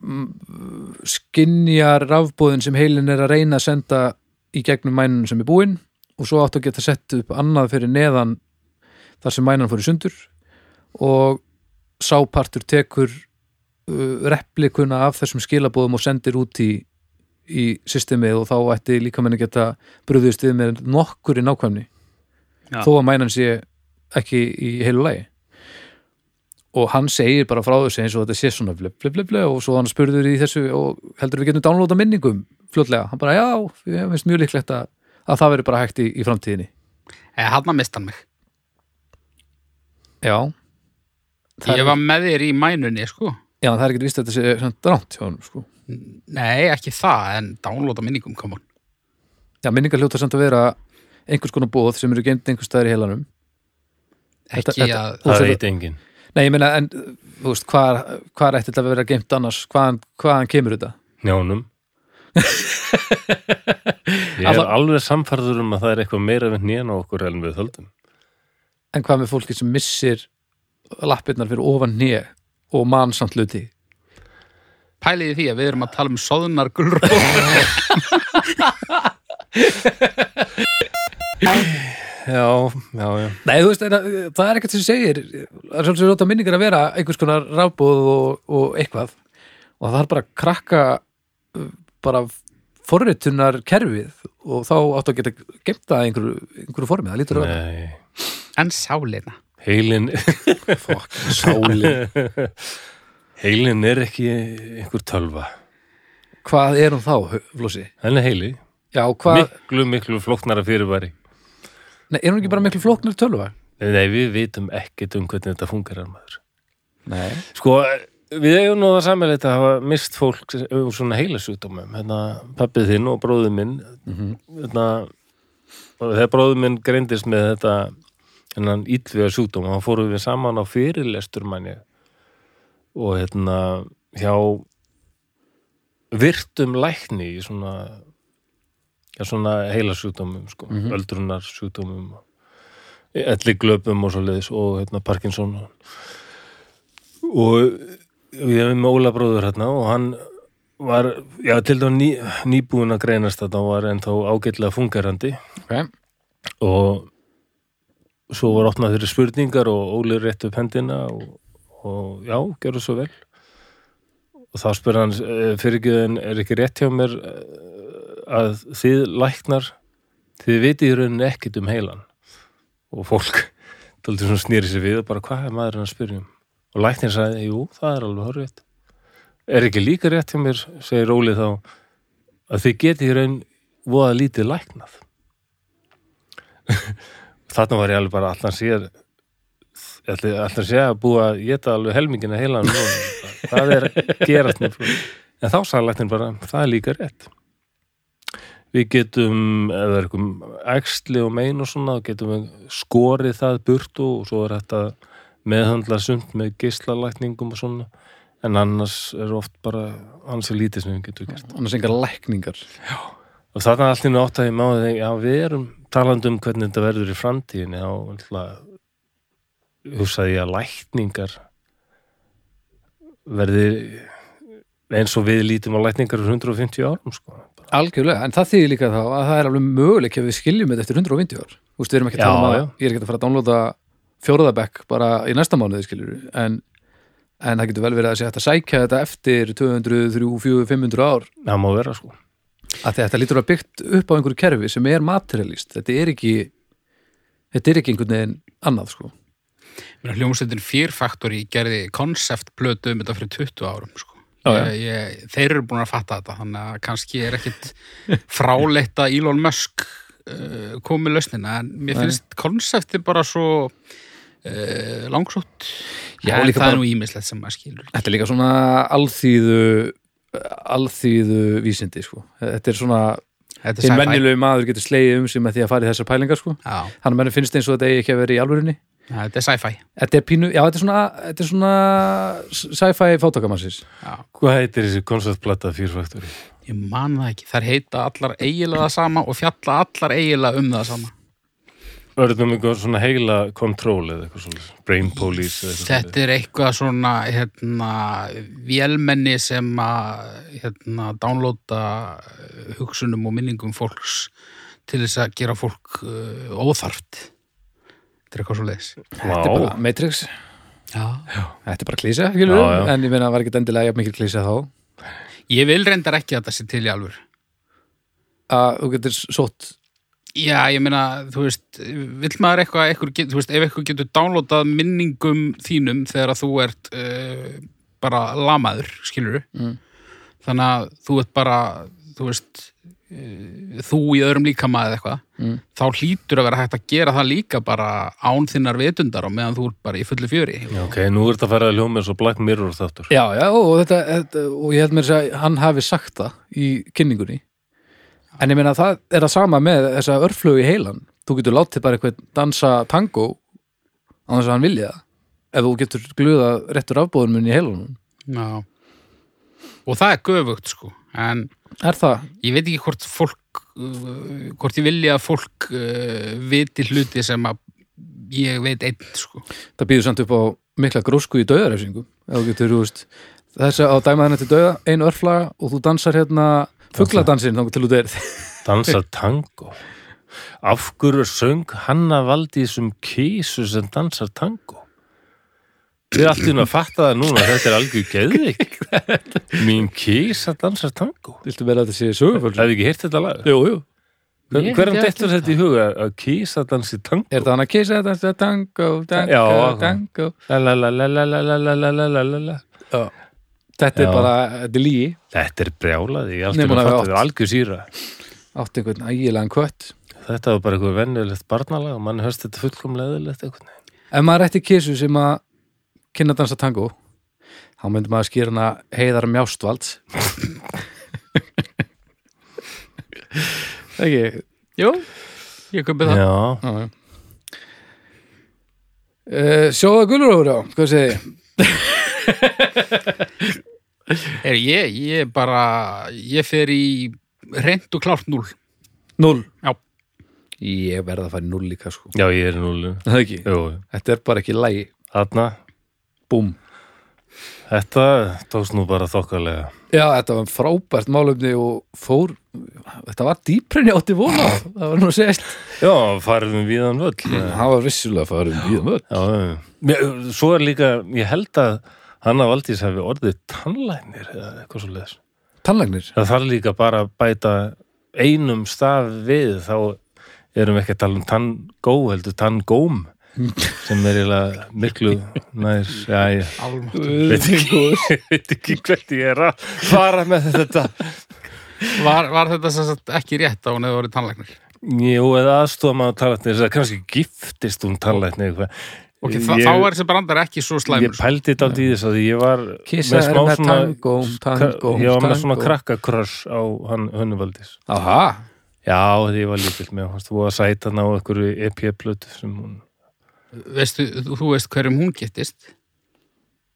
Speaker 2: mm, skynjar rafbúðin sem heilin er að reyna að senda í gegnum mænunum sem er búinn og svo áttu að geta sett upp annað fyrir neðan þar sem mænan fór í sundur og sápartur tekur uh, replikuna af þessum skilabóðum og sendir út í, í systemið og þá ætti líka menni geta brugðist við með nokkur í nákvæmni
Speaker 1: Já.
Speaker 2: þó að mænan sé ekki í heilu lagi og hann segir bara frá þessu eins og þetta sé svona blö, blö, blö, blö, og svo hann spurður í þessu og heldur við getum downloada minningum fljótlega, hann bara já, ég finnst mjög líklegt að, að það verður bara hægt í, í framtíðinni
Speaker 1: Eða hann að mista hann mig.
Speaker 2: já, Það
Speaker 1: Ég
Speaker 2: er-
Speaker 1: var með þér í mænunni, sko.
Speaker 2: já, það er ekkert víst að þetta sé svona ránt hjá hann sko.
Speaker 1: Nei, ekki það, en downloada minningum, come on.
Speaker 2: já, minningar hljóta samt að vera einhvers konar bóð sem eru geimt einhvers staðar í heilanum
Speaker 1: Ekki
Speaker 2: Þetta- þetta-
Speaker 1: að...
Speaker 3: það
Speaker 2: Úrslit-
Speaker 3: veit enginn
Speaker 2: nei, ég meina, en þú veist, hvar, hvar ætti þetta að vera geimt annars, hvaðan, hvaðan kemur þetta
Speaker 3: njánum ég er
Speaker 2: Alla-
Speaker 3: alveg samfærður um að það er eitthvað meira við nján á okkur en við höldum
Speaker 2: en hvað með fólki sem missir lappirnar fyrir ofan nýja og mannsamt hluti
Speaker 1: pæliði því að við erum að tala um soðunar gulrót
Speaker 3: já, já, já
Speaker 2: Nei, þú veist, en að- það er ekkert sem segir það er svolítið róta minningar að vera einhvers konar rafbúð og, og eitthvað og það er bara að krakka uh, bara forritunar kerfið og þá áttu að geta gemt það í einhverju, einhverju formið, það lítur að vera
Speaker 3: Nei.
Speaker 1: en sálina
Speaker 3: heilin
Speaker 2: Fuck, sáli
Speaker 3: heilin er ekki einhver tölva
Speaker 2: Hvað er hún þá, Flósi?
Speaker 3: hann er heili,
Speaker 2: Já, hvað,
Speaker 3: miklu, miklu flóknara fyrirbæri
Speaker 2: nei, er hún ekki bara miklu flóknar tölva?
Speaker 3: nei, við vitum ekkit um hvernig þetta fungerar maður
Speaker 2: Nei
Speaker 3: Sko, við eigum nú það sammeilegt að hafa mist fólk um svona heilasjúkdómum hérna, pappið þinn og bróðið minn hérna, og þegar bróðið minn greindist með þetta hennan ítlvega sjúkdóm þá fórum við saman á fyrirlestur manni og hérna hjá virtum lækni í svona já, svona heilasjúkdómum sko, mm -hmm. öldrunarsjúkdómum elli glöpum og svo leiðis og hérna Parkinson og og við hefum með Óla bróður hérna og hann var, já, til dæmis ný, nýbúin að greinast þetta og var ennþá ágætlega fungerandi
Speaker 2: okay.
Speaker 3: og svo var opnað fyrir spurningar og Óli rétt upp hendina og, og já, gerðu svo vel og þá spurði hann fyrirgjöðin er ekki rétt hjá mér eh, að þið læknar þið vitið í rauninni ekkit um heilan og fólk tóldi svona snýri sér við og bara hvað er maðurinn að spyrja um og læknir sagði, jú, það er alveg horfitt er ekki líka rétt hjá mér segir Óli þá að þið getið í raun voða lítið læknað þarna var ég alveg bara allan sér allan sér að búa að geta alveg helmingina heilan það er gerast mér frú. en þá sagði læknir bara, það er líka rétt við getum ef það er eitthvað æxli og mein og svona, þá getum við skorið það burtu og svo er þetta meðhandla sumt með gislalækningum og svona, en annars er oft bara ansið lítið sem við getum gert
Speaker 2: Annars engar lækningar
Speaker 3: og þarna allt í nátt að ég máði þegar, já við erum talandi um hvernig þetta verður í framtíðinni þá alltaf hugsaði ég að lækningar verði eins og við lítum á lækningar fyrir 150 árum sko. Bara-
Speaker 2: Algjörlega, en það þýðir líka þá að það er alveg möguleik að við skiljum þetta eftir 120 ár Þú veist, við erum ekki að tala um
Speaker 3: Já,
Speaker 2: að
Speaker 3: já.
Speaker 2: ég er ekki að fara að downloada fjóraðabekk bara í næsta mánuði skiljur en, en það getur vel verið að sé hægt að sækja þetta eftir 200, 300, 400, 500 ár
Speaker 3: það má vera sko
Speaker 2: að þetta lítur að byggt upp á einhverju kerfi sem er materialist þetta er ekki þetta er ekki einhvern veginn annað sko
Speaker 1: hljómsveitin Fear Factory gerði konceptplötu um þetta fyrir 20 árum sko.
Speaker 2: Já, já.
Speaker 1: Ég, ég, þeir eru búin að fatta þetta þannig að kannski er ekkit fráleitt að Elon Musk uh, komi lausnina en mér
Speaker 2: Nei.
Speaker 1: finnst konsepti bara svo uh, langsótt
Speaker 2: Já,
Speaker 1: en það
Speaker 2: líka bara-
Speaker 1: er nú ímislegt sem maður skilur
Speaker 2: Þetta er líka svona alþýðu alþýðu vísindi sko. þetta er svona,
Speaker 1: þetta
Speaker 2: hinn
Speaker 1: er sci-fi
Speaker 2: venjulegu maður getur slegið um sig með því að fara í þessar pælingar sko.
Speaker 1: Já,
Speaker 2: þannig að mann finnst eins og þetta eigi ekki að vera í alvörunni
Speaker 1: já, þetta er sci-fi
Speaker 2: þetta er pínu, já þetta er svona, þetta er svona sci-fi fátakamannsins
Speaker 1: Já.
Speaker 3: Hvað heitir þessi koncertplata fyrfaktori?
Speaker 1: ég man það ekki, þær heita allar eigilega það sama og fjalla allar eigilega um það sama
Speaker 3: Örðum um einhver svona heila control eða eitthvað svona, brain police eða eitthvað
Speaker 1: Þetta er eitthvað svona hérna, vélmenni sem að hérna, downloada eh, hugsunum og minningum fólks til þess að gera fólk uh, óþarft Þetta er eitthvað svo leiðis
Speaker 2: þetta er bara
Speaker 3: Vá,
Speaker 2: Matrix,
Speaker 1: Já.
Speaker 2: þetta er bara klísa skilur,
Speaker 3: Já, já.
Speaker 2: en ég meina að það var ekki endilega jafn mikil klísa þá
Speaker 1: Ég vil reyndar ekki að þetta sé til í alvör
Speaker 2: að þú getur sótt
Speaker 1: Já, ég meina, þú veist vill maður eitthvað, eitthvað get, þú veist, ef eitthvað getur downloadað minningum þínum þegar að þú ert uh, bara lamaður, skilur
Speaker 2: Mm.
Speaker 1: þannig að þú ert bara þú veist eh, þú í öðrum líkama eða eitthvað
Speaker 2: Mm.
Speaker 1: þá hlýtur að vera hægt að gera það líka bara án þinnar vitundar og meðan þú ert bara í fullu fjöri
Speaker 3: Já, ok, nú er þetta að fara að hljóma eins og Black Mirror þáttur.
Speaker 2: já, já, og, þetta, þetta, og ég held mér að hann hafi sagt það í kynningunni en ég meina að það er að sama með þessa örflögu í heilan þú getur látið bara eitthvað dansa tango á þess að hann vilja það ef þú getur gluða réttur afbóðunum í heilanum
Speaker 1: Já. og það er göfugt sko en
Speaker 2: er það,
Speaker 1: ég veit ekki hvort fólk eh, hvort ég vilja að fólk uh, viti hluti sem að ég veit einn sko
Speaker 2: það býður samt upp á mikla grósku í dauðarefsingu ef þú getur, þú veist, þess að á dæma þennan til dauða, einu örflaga og þú dansar hérna fugladansin þá til þú deyr
Speaker 3: Dansa tango. Af hverju söng Hanna Valdís um kísu sem dansar tango? Þið er allt í hún að fatta það núna, þetta er algjör geðvik. Mín kísa dansar tango.
Speaker 2: viltu vera að þetta sé söguföld
Speaker 3: Hefði ekki heyrt þetta lag?
Speaker 2: jú, jú
Speaker 3: Hver,
Speaker 1: Ég
Speaker 3: hverjum
Speaker 1: hef ekki
Speaker 3: dettur
Speaker 1: heyrt
Speaker 3: þetta í huga að kísa dansi tango?
Speaker 2: Er það hann að kissa þetta? Tango, tango,
Speaker 3: Já, já.
Speaker 2: tango
Speaker 3: La la la la la la la la la la la la la
Speaker 2: Þetta er
Speaker 3: Já.
Speaker 2: bara, þetta er lígi
Speaker 3: Þetta er brjálaði, ég er
Speaker 2: Nei,
Speaker 3: alltaf
Speaker 2: hún hafi
Speaker 3: að fatta
Speaker 2: átt.
Speaker 3: þetta er algjör síra.
Speaker 2: Átti einhvern ægilegan kött
Speaker 3: Þetta var bara eitthvað venjulegt barnalag og mann höfst þetta fullkomlega eðlilegt eitthvað.
Speaker 2: Ef maður ætti kissu sem að kynna dansa tango þá myndi maður skýra hana heiðar mjástvalds Ekki
Speaker 1: Jú, ég köpi það
Speaker 3: Já,
Speaker 2: uh, Eh, Sjóða gullurófur á, hvað segir ég?
Speaker 1: Er ég, ég bara, ég fer í reynd og klárt núl.
Speaker 2: Null
Speaker 1: Já.
Speaker 2: Ég verð að fara í null líka sko
Speaker 3: já ég er í núlu
Speaker 2: Það ekki,
Speaker 3: Jú,
Speaker 2: þetta er bara ekki lægi
Speaker 3: þarna,
Speaker 2: Búm
Speaker 3: þetta tókst nú bara þokkalega
Speaker 2: Já, þetta var frábært málumni og fór, þetta var dýprenn ég átti vona, það var nú að segja
Speaker 3: Já, farðum við viðan völl Já,
Speaker 2: Það var vissulega að fara um víðan völd
Speaker 3: já. Mér- Svo er líka, ég held að Hanna Valdís hafi orðið tannlæknir eða eitthvað svo leðis
Speaker 2: Tannlagnir,
Speaker 3: Það þarf líka bara að bæta einum staf við þá erum við ekki að tala um tanngó heldur tanngóm sem er eiginlega miklu nær Já, ég
Speaker 1: Alma.
Speaker 3: veit ekki, veit ekki hvert ég er að fara með þetta
Speaker 1: Var, var þetta sem sagt ekki rétt að hún hefði voru tannlæknir?
Speaker 3: Jú, eða aðstofa maður tannlæknir þess að kannski giftist hún tannlæknir eitthvað.
Speaker 1: Ok, þa
Speaker 3: Ég-
Speaker 1: þá er þessi brandar ekki svo
Speaker 3: Ég
Speaker 1: slæmur.
Speaker 3: pældi þetta í þess að ég var
Speaker 2: kissa er með tangóm, tangóm,
Speaker 3: ég var með svona
Speaker 2: tangóm
Speaker 3: krakkakröss á hann Hönnuvaldís.
Speaker 2: Aha,
Speaker 3: Já, því ég var lítill með hans, þú var að sæta hann á einhverju EP-plötu sem hún...
Speaker 1: Veistu, þú- þú veist hverjum hún getist.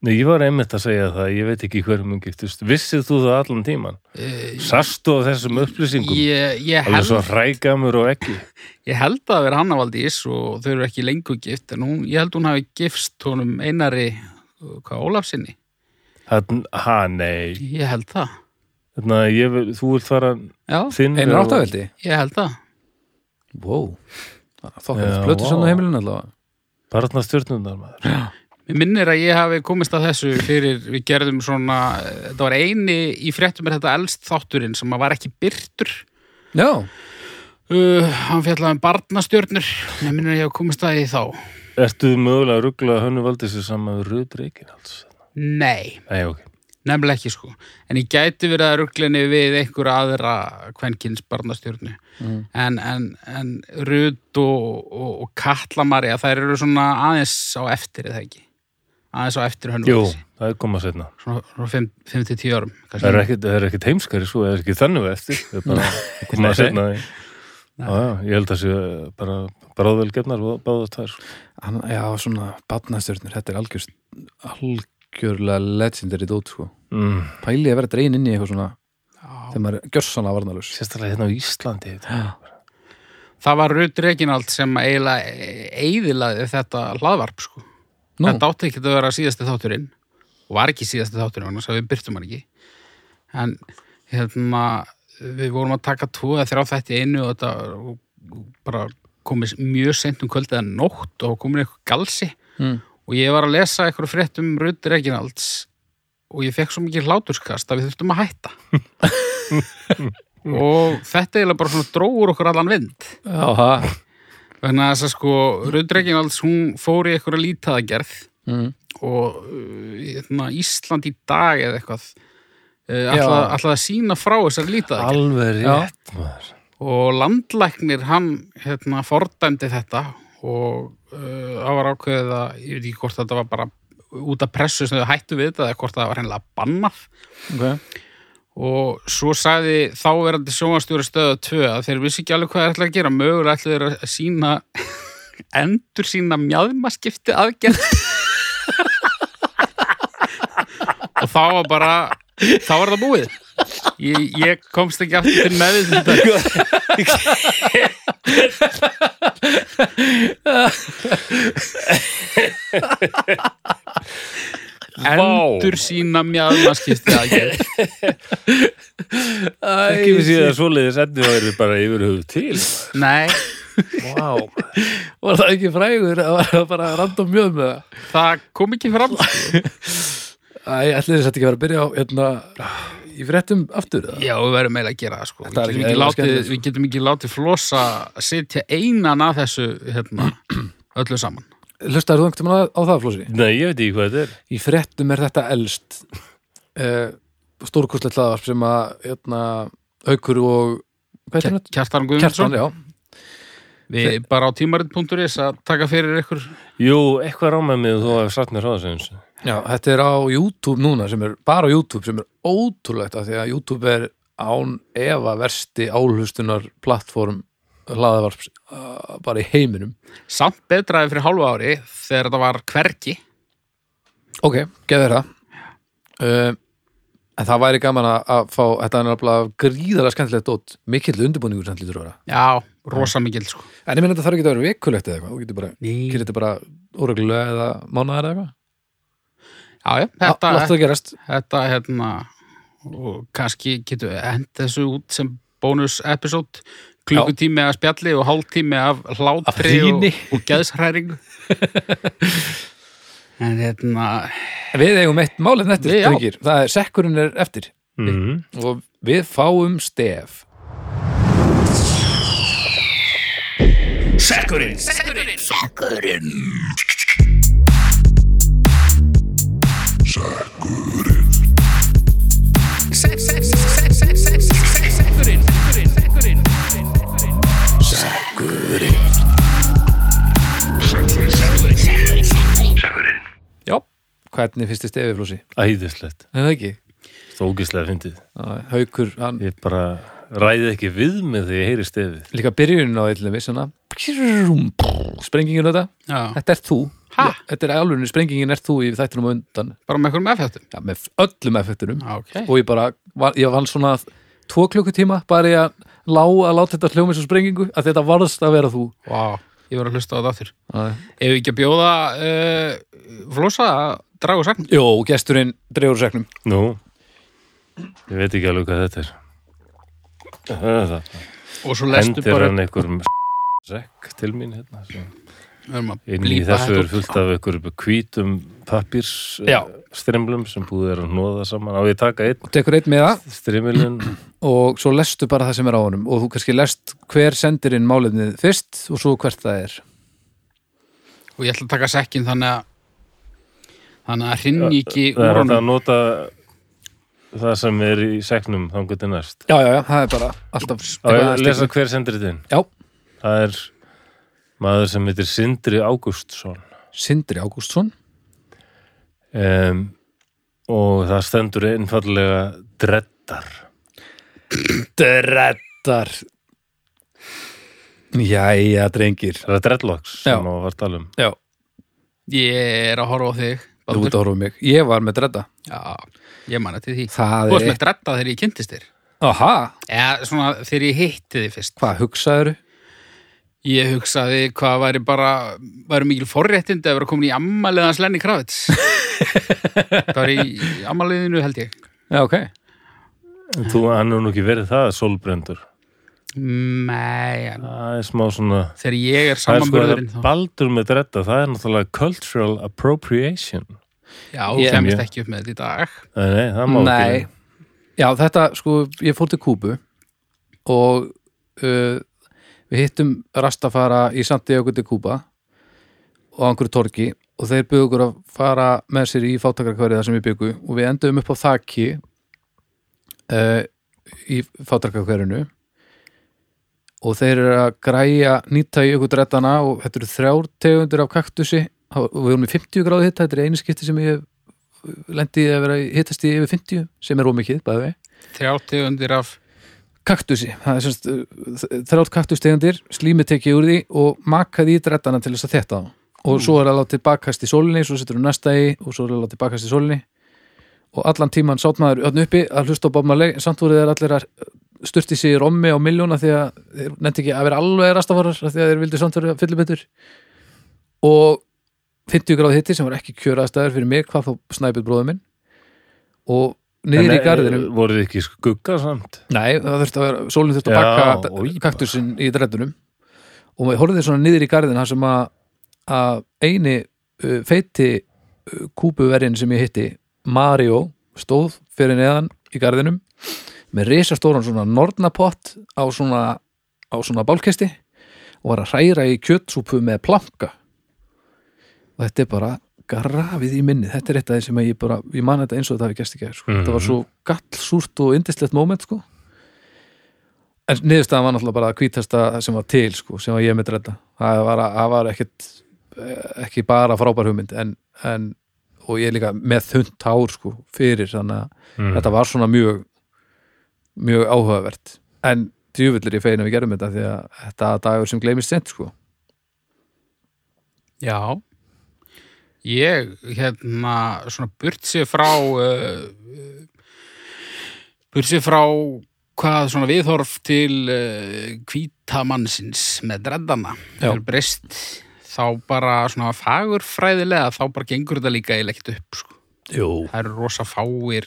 Speaker 3: Nei, ég var einmitt að segja það, ég veit ekki hverjum hún giftist. Vissið þú það allan tíman?
Speaker 1: Eh,
Speaker 3: Sastu á þessum upplýsingum?
Speaker 1: Ég, ég,
Speaker 3: Alveg svo
Speaker 1: held,
Speaker 3: hrægamur og ekki.
Speaker 1: ég held að það vera hann að valdi ís og þau eru ekki lengur gift, en hún, ég held hún hafi gifst honum einari, uh, hvað, Ólafsinni?
Speaker 3: Hann, ha, nei.
Speaker 1: Ég held það.
Speaker 3: Þannig að ég, vil- þú vilt fara
Speaker 1: Já,
Speaker 3: þinn...
Speaker 2: einar áttaveldi
Speaker 1: ég held það.
Speaker 2: Wow, þokkar
Speaker 3: Já,
Speaker 2: flötu sann á
Speaker 3: vá.
Speaker 2: heimilinu allavega
Speaker 3: Barna stjórnundar maður.
Speaker 1: Mér minnir að ég hafi komist að þessu fyrir við gerðum svona, eh, þetta var eini í fréttum er þetta elst þátturinn sem að var ekki byrtur.
Speaker 2: Já,
Speaker 1: Uh, hann fjallaði um barnastjörnur, mér minnir að ég hafi komist að því þá.
Speaker 3: Ertu mögulega að ruggla hönnu valdísi saman við Röð Reykjavík?
Speaker 1: Nei,
Speaker 3: Nei, ok.
Speaker 1: nefnilega ekki sko en ég gæti verið að rugglinni við einhverja aðra kvenkins barnastjörnu
Speaker 2: Mm.
Speaker 1: en, en, en Rut og, og, og Katlamarja þær eru svona aðeins á eftir eða ekki aðeins á eftir hönnum
Speaker 3: Jú, það er komað setna.
Speaker 1: svona, svona 5-10 árum
Speaker 3: Það er
Speaker 1: kannski.
Speaker 3: ekkit, það er ekkit heimskari svo, það er ekki þannig við eftir. Það er bara komað setna. í- Já, já, ég held að sé eh, bara bráðvelgefnar og sko. báða tær.
Speaker 2: Hann, já, svona batnastjörnur, þetta er algjör, algjörlega legendary dót, sko.
Speaker 3: Mm.
Speaker 2: Pæli að vera dregin inn í eitthvað svona,
Speaker 1: Já.
Speaker 2: þegar maður er gjörsanna varnalus.
Speaker 3: Sérstaklega hérna á Íslandi. þetta.
Speaker 1: það var Rut Reginald sem eiginlega eiðilaði þetta hlaðvarp sko
Speaker 2: Nú,
Speaker 1: Þetta átti ekki að vera síðasti þátturinn og var ekki síðasti þátturinn annars að við byrtum hann ekki en hérna við vorum að taka tvo eða þrjá þætti í einu og þetta og- og bara komið mjög seint um kvöldið að nótt og komin eitthvað galsi
Speaker 2: mm.
Speaker 1: og ég var að lesa eitthvað frétt um Rudd Reginalds og ég fekk svo mikið hláturskast að við þurftum að hætta og þetta eiginlega bara svona dróur okkur allan vind
Speaker 2: já, það.
Speaker 1: vegna þess að sko Rudd Reginalds hún fór í eitthvað lítadagerð
Speaker 2: Mm.
Speaker 1: og uh, hérna, Ísland í dag eða eitthvað uh,
Speaker 2: Já.
Speaker 1: alltaf, alltaf að sína frá þessar lítað
Speaker 3: Alveg
Speaker 2: Já.
Speaker 3: rétt, maður.
Speaker 1: og landlæknir hann hérna, fordæmdi þetta og uh, það var ákveðið að ég veit ekki hvort þetta var bara út af pressu sem þau hættu við þetta eða hvort það var hennilega bannað
Speaker 2: Ok.
Speaker 1: og svo sagði þáverandi sjónvastjóri stöða 2 að þeir vissi ekki alveg hvað þeir ætla að gera mögulega ætla þeir að sína endur sína mjadmaskipti aðgerð og þá var bara þá var það búið ég, ég komst ekki aftur til um meðvitundar endur sína mjadmaskipti aðgerð
Speaker 3: Ekki við síðan svoleiðis endur væri bara yfir höfu til.
Speaker 1: nei,
Speaker 3: Vá. Wow.
Speaker 2: Var það ekki frægur að var það bara random mjög með það?
Speaker 1: það kom ekki fram
Speaker 2: Æ, ætli þess að ekki vera að byrja á, hérna, í fréttum aftur, eða?
Speaker 1: Já, við verðum eiginlega að gera það sko. Við
Speaker 2: Þetta er
Speaker 1: getum,
Speaker 2: ekki
Speaker 1: ekki
Speaker 2: eðlilega
Speaker 1: látið,
Speaker 2: skemmtilegt, sko.
Speaker 1: við getum ekki látið flosa að sitja einan að þessu hérna, öllu saman.
Speaker 2: Hlustaður þú einhvern veginn á það, Flósi?
Speaker 3: Nei, ég veit ekki hvað þetta er.
Speaker 2: Í fréttum er þetta elst uh, stórkostlegt hlaðvarp sem að, hérna, haukur og, hvað er þetta? Kjartan,
Speaker 1: Kjartan Guðmundsson,
Speaker 2: já.
Speaker 1: við bara á tímarit.is að taka fyrir ykkur.
Speaker 3: Jú, eitthvað rámaði mig og þú hafði satt mér ráðasins.
Speaker 2: Já, þetta er á YouTube núna sem er bara á YouTube sem er ótrúlegt af því að YouTube er án efa versti álhustunar plattform hlaðavarps uh, bara í heiminum
Speaker 1: Samt betraði fyrir hálfu ári þegar þetta var hvergi.
Speaker 2: Ok, geður það uh, En það væri gaman að, að fá þetta er náttúrulega gríðarlega skemmtilegt dót mikill undirbúningur sem lítur að vera
Speaker 1: Já, rosa mikil sko.
Speaker 2: En ég meina þetta þarf ekki að vera vikulegt eða eitthvað þú getur bara,
Speaker 1: Já,
Speaker 2: gerir þetta bara óreglulega eða mánaðar eða eitthvað
Speaker 1: já,
Speaker 2: Lá-
Speaker 1: þetta,
Speaker 2: Láttu það gerast
Speaker 1: þetta hérna, og kannski getum við hend þessu út sem bónus-episód. Klukkutími að spjalli og hálftími af hlátri
Speaker 2: Af
Speaker 1: og,
Speaker 2: hlýni.
Speaker 1: og geðshræringu. en hérna,
Speaker 2: En Við eigum eitt málið nettir,
Speaker 1: Við, já.
Speaker 2: drengir Það er sekkurinn er eftir
Speaker 3: Mm.
Speaker 2: og við fáum stef Já, hvernig finnst þið stefið flósi?
Speaker 3: Æðislegt.
Speaker 2: En það ekki
Speaker 3: Stókislega fyndið.
Speaker 2: Haukur, hann
Speaker 3: Ég bara ræði ekki við mig þegar ég heyri stefið.
Speaker 2: líka byrjunin á eitthvað við svona sprengingin á þetta,
Speaker 1: já,
Speaker 2: þetta er þú
Speaker 1: Ha?
Speaker 2: Ég- þetta er alveg sprengingin er þú í þættunum á undan,
Speaker 1: bara með einhverjum Sko, effektum.
Speaker 2: já, með öllum effektunum
Speaker 1: Ok.
Speaker 2: Eh. og ég bara, var, ég vann svona tvo klukkutíma, bara ég að lá að láta þetta hljóma eins og sprengingu, að þetta varðst að vera þú
Speaker 1: Vá, ég var að hlusta á það aftur.
Speaker 2: Æ.
Speaker 1: Ef við ekki að bjóða uh, flosa að draga úr sagn.
Speaker 2: Jó, gesturinn dregur úr segnum
Speaker 3: Nú, ég veit ekki alveg hvað þetta er. Það er það.
Speaker 1: Og svo lestu
Speaker 3: Hendir
Speaker 1: bara,
Speaker 3: hann einhverjum sekk til mín hérna. sem-
Speaker 1: við erum að
Speaker 3: Inn í
Speaker 1: blípa
Speaker 3: þessu er
Speaker 1: þetta.
Speaker 3: fullt af einhverjum hvítum pappirs
Speaker 1: Já.
Speaker 3: strimlum sem búið er að nóða saman. Á ég að taka einn
Speaker 2: og tekur einn með það
Speaker 3: strimilinn.
Speaker 2: og svo lestu bara það sem er á honum og þú kannski lest hver sendir inn málefnið fyrst og svo hvert það er
Speaker 1: Og ég ætla að taka sekkin þannig að þannig að hrinn ekki
Speaker 3: Það
Speaker 1: úr
Speaker 3: er hægt að
Speaker 1: honum.
Speaker 3: nota það sem er í segnum þá getur næst
Speaker 2: já, já, já, það er bara alltaf
Speaker 3: Á ég að
Speaker 2: að
Speaker 3: lesa
Speaker 2: stikla.
Speaker 3: hver sendir þetta inn
Speaker 2: Já,
Speaker 3: það er maður sem heitir Sindri Ágústsson
Speaker 2: Sindri Ágústsson
Speaker 3: um, og það stendur einfallega dreddar
Speaker 2: Dreddar Jæja, drengir
Speaker 3: það er dreadlocks
Speaker 2: Já.
Speaker 3: sem á var að tala um
Speaker 2: Já,
Speaker 1: Ég er að horfa á þig,
Speaker 2: þú ert
Speaker 1: Baldur.
Speaker 2: að horfa á mig Ég var með dredda
Speaker 1: Já, ég manna til því. Þú
Speaker 2: Það
Speaker 1: varst
Speaker 2: er
Speaker 1: með dretta þegar ég kynntist þér.
Speaker 2: Aha,
Speaker 1: Eða svona þegar ég hitti þið fyrst.
Speaker 2: hvað hugsaður?
Speaker 1: Ég hugsaði hvað væri bara, væri mikil forréttindi að vera komin í ammaliðan Slenni Kravits. það var í ammaliðinu held ég.
Speaker 2: Já, ok
Speaker 3: En þú, hann er nú ekki verið það solbrendur
Speaker 1: Nei, en
Speaker 3: það er smá svona
Speaker 1: þegar ég er
Speaker 3: það er sko að
Speaker 1: samanbörðurinn þá.
Speaker 3: baldur með dredda það er náttúrulega cultural appropriation
Speaker 1: Já,
Speaker 2: Ég-
Speaker 1: ég kemist ekki upp með þetta í dag.
Speaker 3: nei, nei, það má
Speaker 2: Nei,
Speaker 3: ekki
Speaker 2: já þetta sko ég fór til Kúbu og uh, við hittum rastafara í Santiago til Kúba og á einhverju torgi og þeir byggðu okkur að fara með sér í fátakrakvarið þar sem við byggu og við endum upp á þaki uh, í fátakrakvarinu og þeir eru að græja nýta í okkur drettana og þetta eru þrjár tegundir af kaktusi og við erum í 50 gráðu hitta, þetta er einu skipti sem ég hef lendi að vera hittast í yfir 50 sem er ómikið, bæði við
Speaker 1: Þrjátti undir af,
Speaker 2: kaktusi, það er semst þrjátt kaktustegundir, slími tekið úr því og makaði í drettana til þess að þetta og svo er að láta bakast í sólinni svo setur hún næsta í og svo er að láta bakast í sólinni og allan tíman sátt maður öðn uppi að hlusta á Bob Marley en samt voru þeir allir að sturti sig í rommi á miljóna því að þeir nefndi ekki að vera alveg rastafarar af því að þeir vildi samt vera fyllibettur og 50 gráð hitti sem var ekki kjöraðstæður fyrir mig hvað þá snæpið bróðum minn og niður
Speaker 3: En,
Speaker 2: í garðinum
Speaker 3: eh, voruð þið ekki í skugga samt
Speaker 2: Nei, það þurfti að vera, sólinn þurfti
Speaker 3: Já,
Speaker 2: að bakka
Speaker 3: oj,
Speaker 2: kaktusinn í dreddunum og maður horfði svona niður í garðin þar sem að, að eini uh, feiti uh, kúpuverjinn sem ég hitti Mario stóð fyrir neðan í garðinum með risastóran svona nornapott á svona, á svona bálkesti og var að hræra í kjötsúpu með planka og þetta er bara grafið í minni, þetta er eitt af því sem að ég bara, ég man þetta eins og þetta hafi gæst ekki sko.
Speaker 3: Mhm.
Speaker 2: þetta var svo gallsúrt og indislegt moment sko en niðurstaðan var náttúrulega bara að hvítasta sem var til sko, sem var ég með dredda það var, það var ekkit ekki bara frábær hugmynd en, en, og ég er líka með þund hár sko, fyrir þannig að
Speaker 3: Mm.
Speaker 2: þetta var svona mjög mjög áhugavert en djúvillir ég fegin að við gerum þetta því að þetta er dagur sem gleymist sent sko
Speaker 1: já. Ég, hérna, svona burt sér frá, uh, burt sér frá hvað svona viðhorf til uh, hvítamannsins með dreddana.
Speaker 2: Já.
Speaker 1: Hefur breyst þá bara svona fagurfræðilega, þá bara gengur þetta líka eiginlega ekkert upp, sko.
Speaker 2: Jú.
Speaker 1: það eru rosa fáir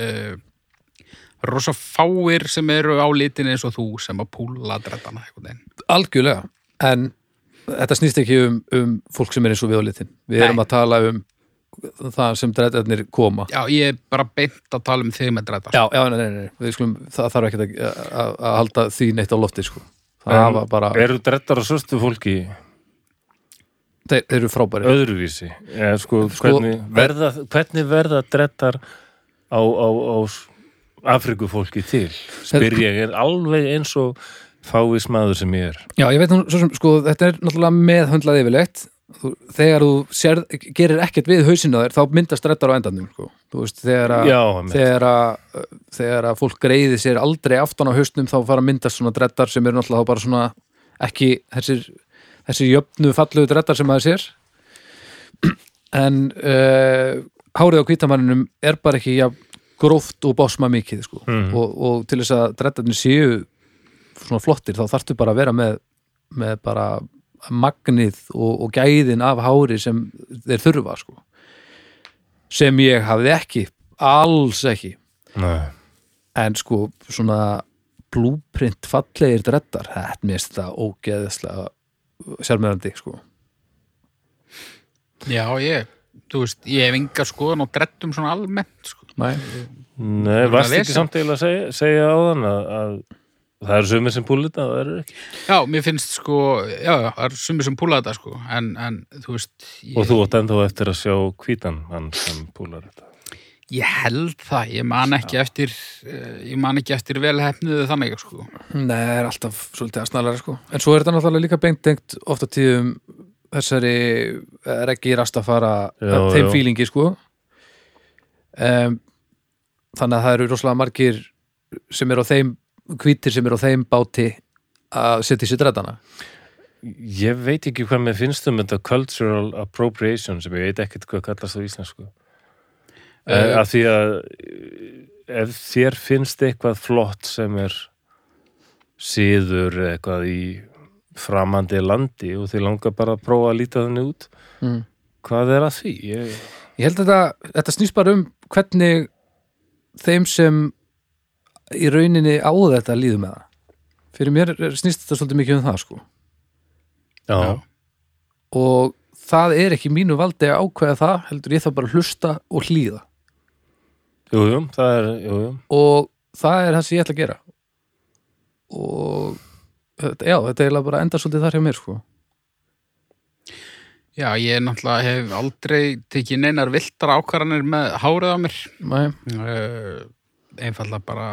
Speaker 1: uh, rosa fáir sem eru á litin eins og þú sem að púla dreddana einhvern veginn.
Speaker 2: algjörlega en þetta snýst ekki um, um fólk sem er eins og við á litin við
Speaker 1: Nei.
Speaker 2: erum að tala um það sem dreddarnir koma
Speaker 1: Já, ég er bara beint að tala um þig með dreddar.
Speaker 2: já, já nei, nei, nei, við skulum, það þarf ekki að, að, að halda því neitt á lofti sko. það
Speaker 3: En
Speaker 2: hafa bara,
Speaker 3: eru dreddar og svörstu fólki
Speaker 2: þeir, þeir eru frábæri
Speaker 3: öðruvísi eða sko,
Speaker 2: Sko-
Speaker 3: hvernig, verða, hvernig verða dreddar á, á, á Afrikufólki til spyr ég er alveg eins og fávis maður sem ég er
Speaker 2: já, ég veit nú, svo sem, sko, þetta er náttúrulega meðhundlað yfirleitt þú, þegar þú sér, gerir ekkert við hausinu þér, þá myndast dreddar á endanum sko. þú veist, þegar að
Speaker 3: já, einmitt.
Speaker 2: þegar að, þegar að fólk greiði sér aldrei aftan á hausnum þá fara að myndast svona dreddar sem eru náttúrulega þá bara svona ekki þessir, þessir jöfnu falluðu dreddar sem maður sér en uh, hárið á kvítamanninum er bara ekki ja, gróft og básma mikið sko.
Speaker 3: Mhm.
Speaker 2: og, og til þess að dreddarnir séu svona flottir þá þarftu bara að vera með, með bara magnið og, og gæðin af hári sem þeir þurfa sko. sem ég hafði ekki alls ekki
Speaker 3: Nei.
Speaker 2: en sko svona blúprint fallegir dreddar þetta mér finnst þetta ógeðislega sérmjöðandi sko
Speaker 1: Já, ég, þú veist, ég hef enga skoðan á dreddum svona almennt, sko.
Speaker 2: Nei.
Speaker 3: Nei,
Speaker 1: að
Speaker 3: varst ekki
Speaker 1: lesa.
Speaker 3: samt eiginlega að segja, segja á þann að, að það eru sumir sem púlita það eru ekki
Speaker 1: Já, mér finnst sko, já, já, það er sumir sem púla þetta, sko, en, en þú veist, ég,
Speaker 3: og þú átt ennþá eftir að sjá hvítan hann sem púlar þetta
Speaker 1: Ég held það, ég man ekki eftir eh, ég man ekki eftir velhefniðu þannig sko.
Speaker 2: Nei, það er alltaf svolítið aðsnaðlega sko. En svo er þetta náttúrulega líka beintengt ofta tíðum þessari eh, reggi rastafara
Speaker 3: Já,
Speaker 2: þeim
Speaker 3: já.
Speaker 2: fílingi sko. Um, þannig að það eru rosalega margir sem eru á þeim hvítir sem eru á þeim báti að setja í sér drætana.
Speaker 3: Ég veit ekki hvað mér finnst um þetta cultural appropriation sem ég veit ekkert hvað kallast á íslensku. Uh, af því að eh, ef þér finnst eitthvað flott sem er síður eitthvað í framandi landi og þið langar bara að prófa að líta þannig út,
Speaker 2: Mm.
Speaker 3: hvað er að því? Ég,
Speaker 2: Ég held að þetta, þetta snýst bara um hvernig þeim sem í rauninni á þetta líður með það. Fyrir mér er- snýst þetta svolítið mikið um það sko.
Speaker 3: já,
Speaker 1: Já.
Speaker 2: og það er ekki mínu valdi að ákveða það, heldur ég þarf bara að hlusta og hlýða
Speaker 3: Jú, jú, það er, jú, jú.
Speaker 2: og það er það sem ég ætla að gera og þetta- já, þetta er eiginlega bara enda svolítið þar hjá mér sko
Speaker 1: Já, ég náttúrulega hef aldrei tekið neinar viltar ákvarðanir með hárið á mér
Speaker 2: Nei,
Speaker 1: uh, einfallega bara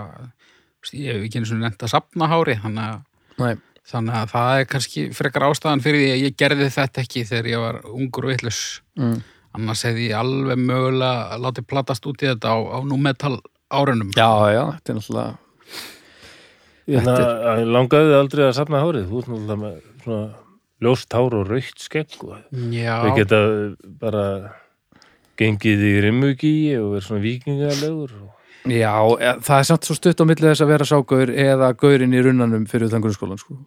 Speaker 1: ég hef ekki eins og nefnt að sapna hári þannig að,
Speaker 2: nei,
Speaker 1: þannig að það er kannski frekar ástæðan fyrir því að ég gerði þetta ekki þegar ég var ungur og vitlaus
Speaker 2: mm,
Speaker 1: annars hefði ég alveg mögulega látið platast út í þetta á, á númetal árunum
Speaker 2: já, já, þetta er náttúrulega
Speaker 3: Hérna,
Speaker 2: Þetta
Speaker 3: langaði þið aldrei að safna hárið, þú ert náttúrulega með svona ljóst hár og raukt skegg og Þau
Speaker 1: Já,
Speaker 3: geta bara gengið í rimmugíi og verið svona vikingalegur. og-
Speaker 2: já, e- það er samt svo stutt á milli þess að vera ságaur eða gaurinn í runnanum fyrir utan grunnskólan sko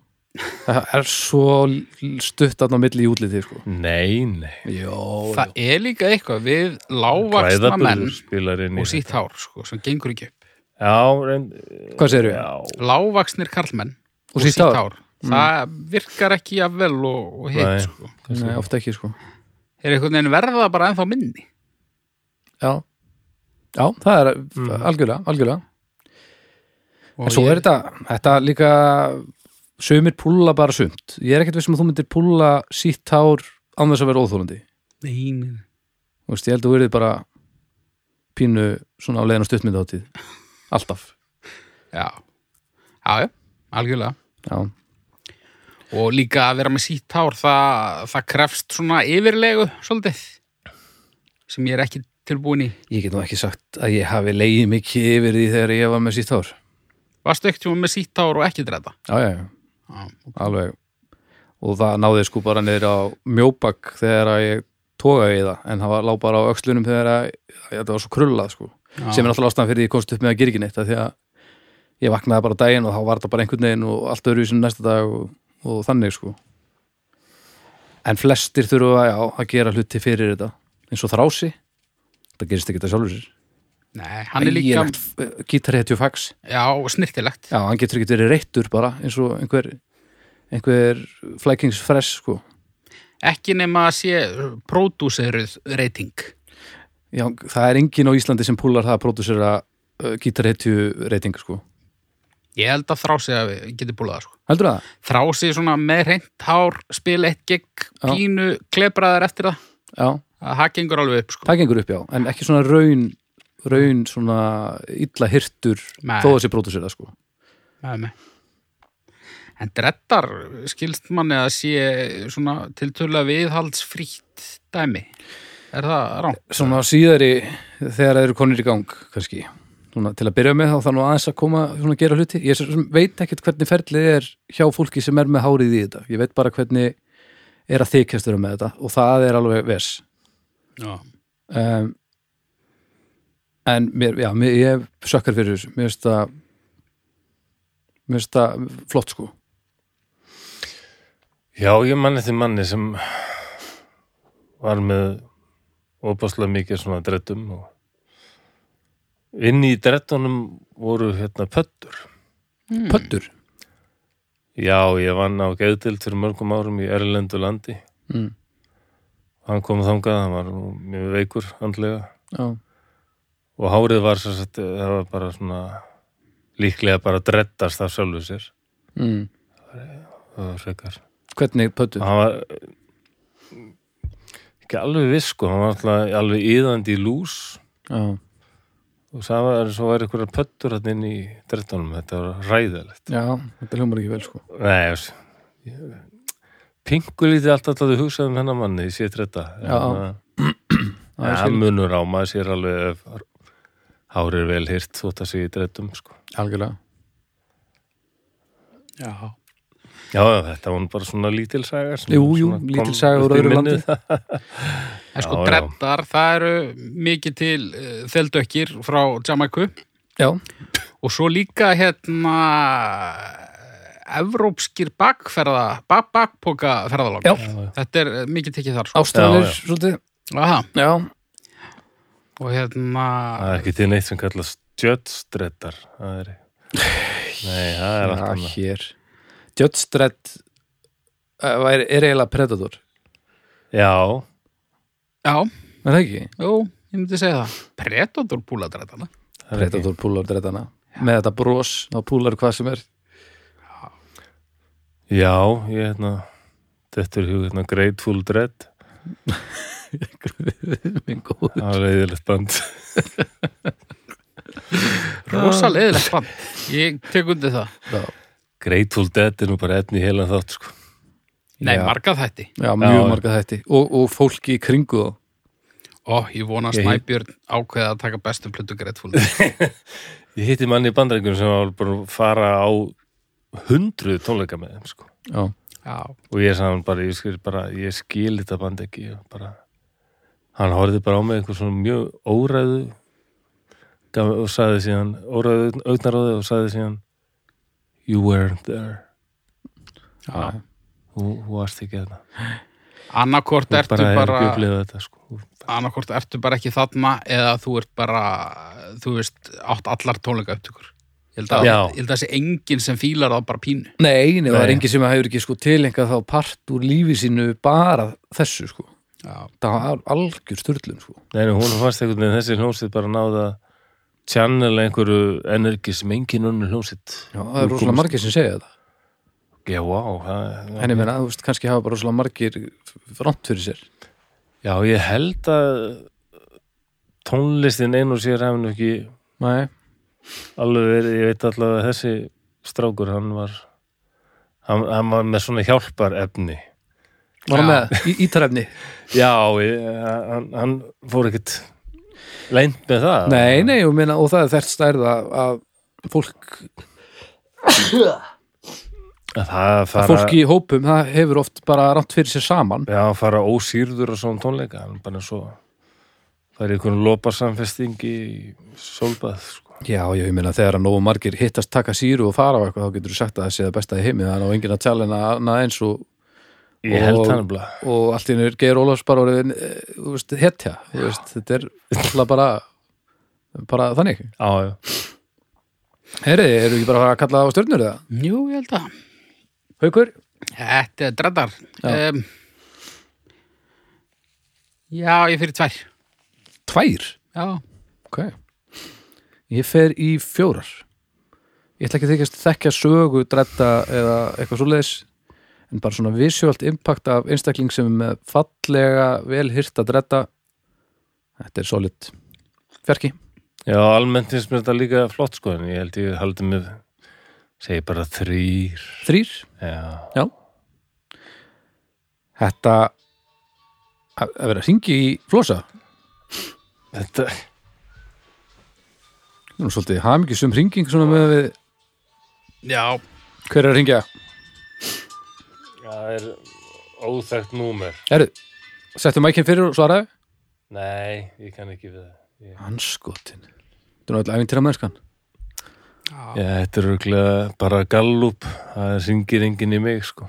Speaker 2: það er svo l- stutt þarna á milli í útliti sko
Speaker 3: Nei, nei.
Speaker 2: Jó,
Speaker 1: það er líka eitthvað við lágvaksna menn
Speaker 3: Klæðaburður spilar inn í
Speaker 1: og sítt hár sko, sem gengur ekki upp
Speaker 3: Já, reynd...
Speaker 2: Hvað segirðu?
Speaker 3: Já,
Speaker 1: lágvaksnir karlmenn
Speaker 2: Og sítt hár?
Speaker 1: það virkar ekki að vel og, og
Speaker 3: Nei.
Speaker 1: hitt sko.
Speaker 2: nei, ofta ekki sko
Speaker 1: er einhvern veginn verða bara ennþá minni
Speaker 2: Já, Mm. já það er algjörlega, algjörlega
Speaker 1: Og
Speaker 2: En svo er þetta, þetta líka sumir púla bara sumt Ég er ekkert vissum að þú myndir púla sítt hár án þess að vera óþólandi
Speaker 1: Nei, nei, nei.
Speaker 2: Þú veist, ég held að þú verið bara pínu svona á leiðin á stuttmynda Alltaf
Speaker 1: já, já, já, algjörlega
Speaker 2: Já,
Speaker 1: og líka að vera með sítt hár það, það krefst svona yfirlegu svolítið sem ég er ekki tilbúin í
Speaker 2: ég get nú ekki sagt að ég hafi leiði mikið yfir því þegar ég var með sítt hár
Speaker 1: varstu ekkert með sítt hár og ekki dreita
Speaker 2: Já, já, já, alveg Og það náði sko bara niður á mjóbak þegar að ég togaði í það en það var lá bara á öxlunum þegar að þetta var svo krullað sko sem er náttúrulega ástæðan fyrir því ég komst upp með að gera ekki neitt af því að ég vaknaði bara á daginn og þá var þetta bara einhvern veginn og allt öðru sem næsta dag og, og þannig sko en flestir þurfa já, að gera hluti fyrir þetta eins og þrási þetta gerist ekki þetta sjálfur sér eh,
Speaker 1: Nei, hann er líka,
Speaker 2: gítarhetju fax
Speaker 1: já, og snirtilegt
Speaker 2: já, hann getur ekki verið reittur bara eins og einhver, einhver flækingsfress sko
Speaker 1: ekki nema að sé uh, pródúseruð reyting
Speaker 2: já, það er engin á Íslandi sem púlar það að pródusera uh, gítarhetju reyting sko
Speaker 1: ég held að þrási að við getum búið það sko.
Speaker 2: heldur það?
Speaker 1: þrási svona með reynt hár spila eitt gegn
Speaker 2: Já.
Speaker 1: pínu klebraðar eftir það
Speaker 2: já
Speaker 1: að það gengur alveg upp sko.
Speaker 2: það gengur upp já, en ekki svona raun raun svona illa hirtur
Speaker 1: Nei.
Speaker 2: þó að sé pródusera sko
Speaker 1: Nei, nei. En drettar skilst manni að sé svona tiltölulega viðhaldsfrítt dæmi. Er það rám?
Speaker 2: svona síðari þegar þeir eru konir í gang kannski, svona til að byrja með þá þannig aðeins að koma svona að gera hluti ég svo sem veit ekkert hvernig ferlið er hjá fólki sem er með hárið í þetta, ég veit bara hvernig er að þykjast vera með þetta og það er alveg vers
Speaker 1: Já.
Speaker 2: um, en mér, já, mér, ég sökkar fyrir þessu, mér finnst það mér finnst það flott sko
Speaker 3: já ég manni því manni sem var með opaslega mikið svona drettum og inn í drettunum voru hérna pöttur.
Speaker 2: pöttur,
Speaker 3: Já, ég vann á geðdild fyrir mörgum árum í Erlendu landi.
Speaker 2: mm.
Speaker 3: Hann kom þangað, hann var nú mjög veikur andlega
Speaker 2: já,
Speaker 3: og hárið var svo sett, það var bara svona líklega bara að dreddast af sjálfu sér.
Speaker 2: mm.
Speaker 3: Það var frekar.
Speaker 2: hvernig pöttur
Speaker 3: Hann var eh, ekki alveg viss sko, hann var alltaf alveg íðandi í lús
Speaker 2: Já,
Speaker 3: og það var svo væri einhverjar pöttur hann inn í 13. Þetta var ræðilegt.
Speaker 2: Já, þetta hljómar ekki vel sko
Speaker 3: Nei, ég veist, pingur lítið allt alltaf þú hugsaði um hennar manni í sér þetta.
Speaker 2: Já. Já, ég
Speaker 3: Það
Speaker 2: skil.
Speaker 3: eh, munur á maður sér alveg ef hárið er vel hýrt þótt að sé í drettum, sko.
Speaker 2: Algjörlega
Speaker 1: Já.
Speaker 3: Já, já, þetta var nú bara svona lítilsaga. sem
Speaker 2: Jú, jú,
Speaker 3: svona kom
Speaker 2: lítilsaga úr
Speaker 3: upp í
Speaker 2: öðru
Speaker 3: minnið.
Speaker 1: En sko,
Speaker 3: Já, já.
Speaker 1: dreddar, það eru mikið til uh, þeldökkir frá Jamaiku
Speaker 2: Já,
Speaker 1: og svo líka hérna evrópskir bakferða, bak, bakpoka ferðalók.
Speaker 2: já,
Speaker 1: Þetta er eh, mikið tekið þar. Sko.
Speaker 2: ástæðanir
Speaker 3: Já, já.
Speaker 2: svolítið
Speaker 1: Aha,
Speaker 2: Já,
Speaker 1: og hérna,
Speaker 3: Það er ekki til neitt sem kallast stjötstrettar. Það er... Nei, það er allt
Speaker 2: já
Speaker 3: annað.
Speaker 2: hér Judge Dredd uh, er, er eiginlega Predator
Speaker 3: Já,
Speaker 1: já,
Speaker 2: Er það ekki?
Speaker 1: jú, ég myndi segja það. Predator púladreddana.
Speaker 3: það er ekki.
Speaker 2: Predator púlar dreddana Með þetta bros, þá púlar hvað sem er
Speaker 3: Já, ég hérna, þetta er hug, hérna, Grateful Dread,
Speaker 2: Minn góður
Speaker 3: það er eðilegt band.
Speaker 1: Rosa leiðilegt band. Ég tek undir það.
Speaker 2: Já,
Speaker 3: Grateful Dead er nú bara einn í heila þátt, sko.
Speaker 1: Nei,
Speaker 2: Já.
Speaker 1: marga þætti.
Speaker 2: já mjög
Speaker 3: Já.
Speaker 2: marga þætti og, og fólki í kringu þá
Speaker 1: Ó, ég vona að
Speaker 3: Ég-
Speaker 1: Snæbjörn ákveða að taka bestu plötu greittfúl.
Speaker 3: Ég hitti manni í bandaríkjum sem var bara að fara á hundruð tónleika með þeim, sko.
Speaker 2: Já,
Speaker 1: Já,
Speaker 3: Og ég sagði hann bara, ég skil bara, ég skil þetta band ekki, ég bara, hann horfði bara á mig einhver svona mjög óræðu gaf, og sagði síðan, óræðu augnaróði og sagði síðan, you weren't there,
Speaker 2: já,
Speaker 3: þú þú varst ekki þetta.
Speaker 1: annarkort
Speaker 3: Þú
Speaker 1: ertu
Speaker 3: bara er
Speaker 1: bara...
Speaker 3: ekki upplifað þetta, sko.
Speaker 1: annarkort ertu bara ekki þarna eða þú ert bara, þú veist, átt allar tónleika upptökur. Ég held að,
Speaker 3: Já.
Speaker 1: ég held að sé enginn sem fílar það bara pínu.
Speaker 2: Nei, nei, það er
Speaker 3: Nei.
Speaker 2: engin sem hefur ekki sko tilengað þá part úr lífi sínu bara þessu sko
Speaker 1: Já.
Speaker 2: Það var algjör styrlun sko
Speaker 3: Nei, nei, hún fannst einhvern veginn þessi hljómsveit bara náða channel einhverju energi sem engin önnur hljómsveit
Speaker 2: Já, það er rosalega margir sem segja þetta
Speaker 3: Já, vá, það,
Speaker 2: En ég meina, þú veist, kannski hafa bara rosalega margir front fyrir sér
Speaker 3: já, ég held að tónlistin einu sér hefði nú ekki
Speaker 2: Nei,
Speaker 3: alveg verið, ég veit allavega að þessi strákur, hann var hann, hann var með svona hjálparefni
Speaker 2: var
Speaker 1: Já.
Speaker 2: hann með í, ítarefni
Speaker 3: Já, ég, hann, hann fór ekkert leint með það
Speaker 2: Nei, nei, og, meina, og það er þert stærð að, að fólk,
Speaker 3: Að Það fara,
Speaker 2: að fólk í hópum það hefur oft bara rátt fyrir sér saman
Speaker 3: Já, að fara ósýrður á svona tónleika hann bara svo það er einhvern loparsamfesting í sólbað sko.
Speaker 2: Já, já, ég meina þegar að nógu margir hittast taka síru og fara á eitthvað þá getur þú sagt að það sé það besta í heimi þannig að enginn að tala en að eins og,
Speaker 3: ég
Speaker 2: Og-
Speaker 3: held hann bara
Speaker 2: og allt í nýr Geir Ólafs bara orðin, eh, þú veist, hetja þú veist, þetta er alltaf bara bara þannig
Speaker 3: já, já.
Speaker 2: Heyriði, eru ekki bara að fara að kalla á stjörnur eða?
Speaker 1: Jú, ég held að.
Speaker 2: Haukur?
Speaker 1: Þetta er dreddar.
Speaker 2: Já.
Speaker 1: Um, já, ég fyrir tvær.
Speaker 2: Tvær?
Speaker 1: Já.
Speaker 2: Ok. Ég fer í fjórar. Ég ætla ekki að þykjast þekkja sögu, dretta eða eitthvað svoleiðis, en bara svona visuált impact af einstakling sem er með fallega, vel hýrta dretta. Þetta er solid. Fjarki?
Speaker 3: já, almennt finnst mér þetta líka flott sko, en ég held ég haldi mig segi bara þrýr
Speaker 2: Þrýr?
Speaker 3: já,
Speaker 2: Já. Þetta að að vera að ringi í flosa.
Speaker 3: þetta
Speaker 2: Það er nú svolítið hamingisum ringing svona með við
Speaker 1: Já.
Speaker 2: hver er að ringja.
Speaker 3: það er óþægt númer
Speaker 2: Herru, settu mækinn fyrir og svaraðu.
Speaker 3: nei, ég kann ekki við það ég...
Speaker 2: Hanskotin. Þetta er náttúrulega æfintýra mennskan.
Speaker 1: Já.
Speaker 3: já, þetta er örgulega bara gallup það syngir enginn í mig sko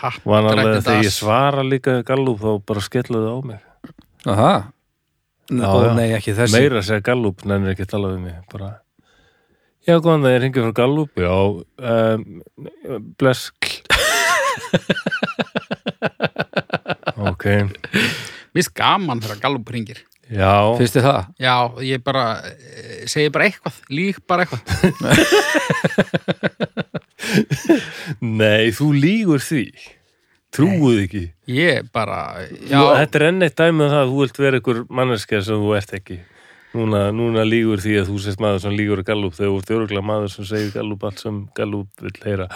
Speaker 1: Ha,
Speaker 3: vanalega
Speaker 1: dreddið
Speaker 3: þegar ég
Speaker 1: das.
Speaker 3: svara líka gallup þá bara skellaðu á mig
Speaker 2: Aha.
Speaker 3: Já, já.
Speaker 2: Ó, nei, ekki þessi.
Speaker 3: meira að segja Gallup nennir ekki að tala við mig bara já góðan það er hengið frá Gallup já um, bless ok
Speaker 1: Mér finnst gaman þegar Gallup ringir.
Speaker 3: já
Speaker 2: Fyrst þið það?
Speaker 1: Já, ég bara, eh, segi bara eitthvað, lík bara eitthvað.
Speaker 3: nei þú lígur því trúuð ekki
Speaker 1: Ég bara, já,
Speaker 3: um þetta er enn eitt dæmið það að þú vilt vera einhver manneskja sem þú ert ekki Núna, núna lígur því að þú sést maður sem lígur að gallup þegar þú ert öruglega maður sem segir gallup allt sem gallup vil heyra.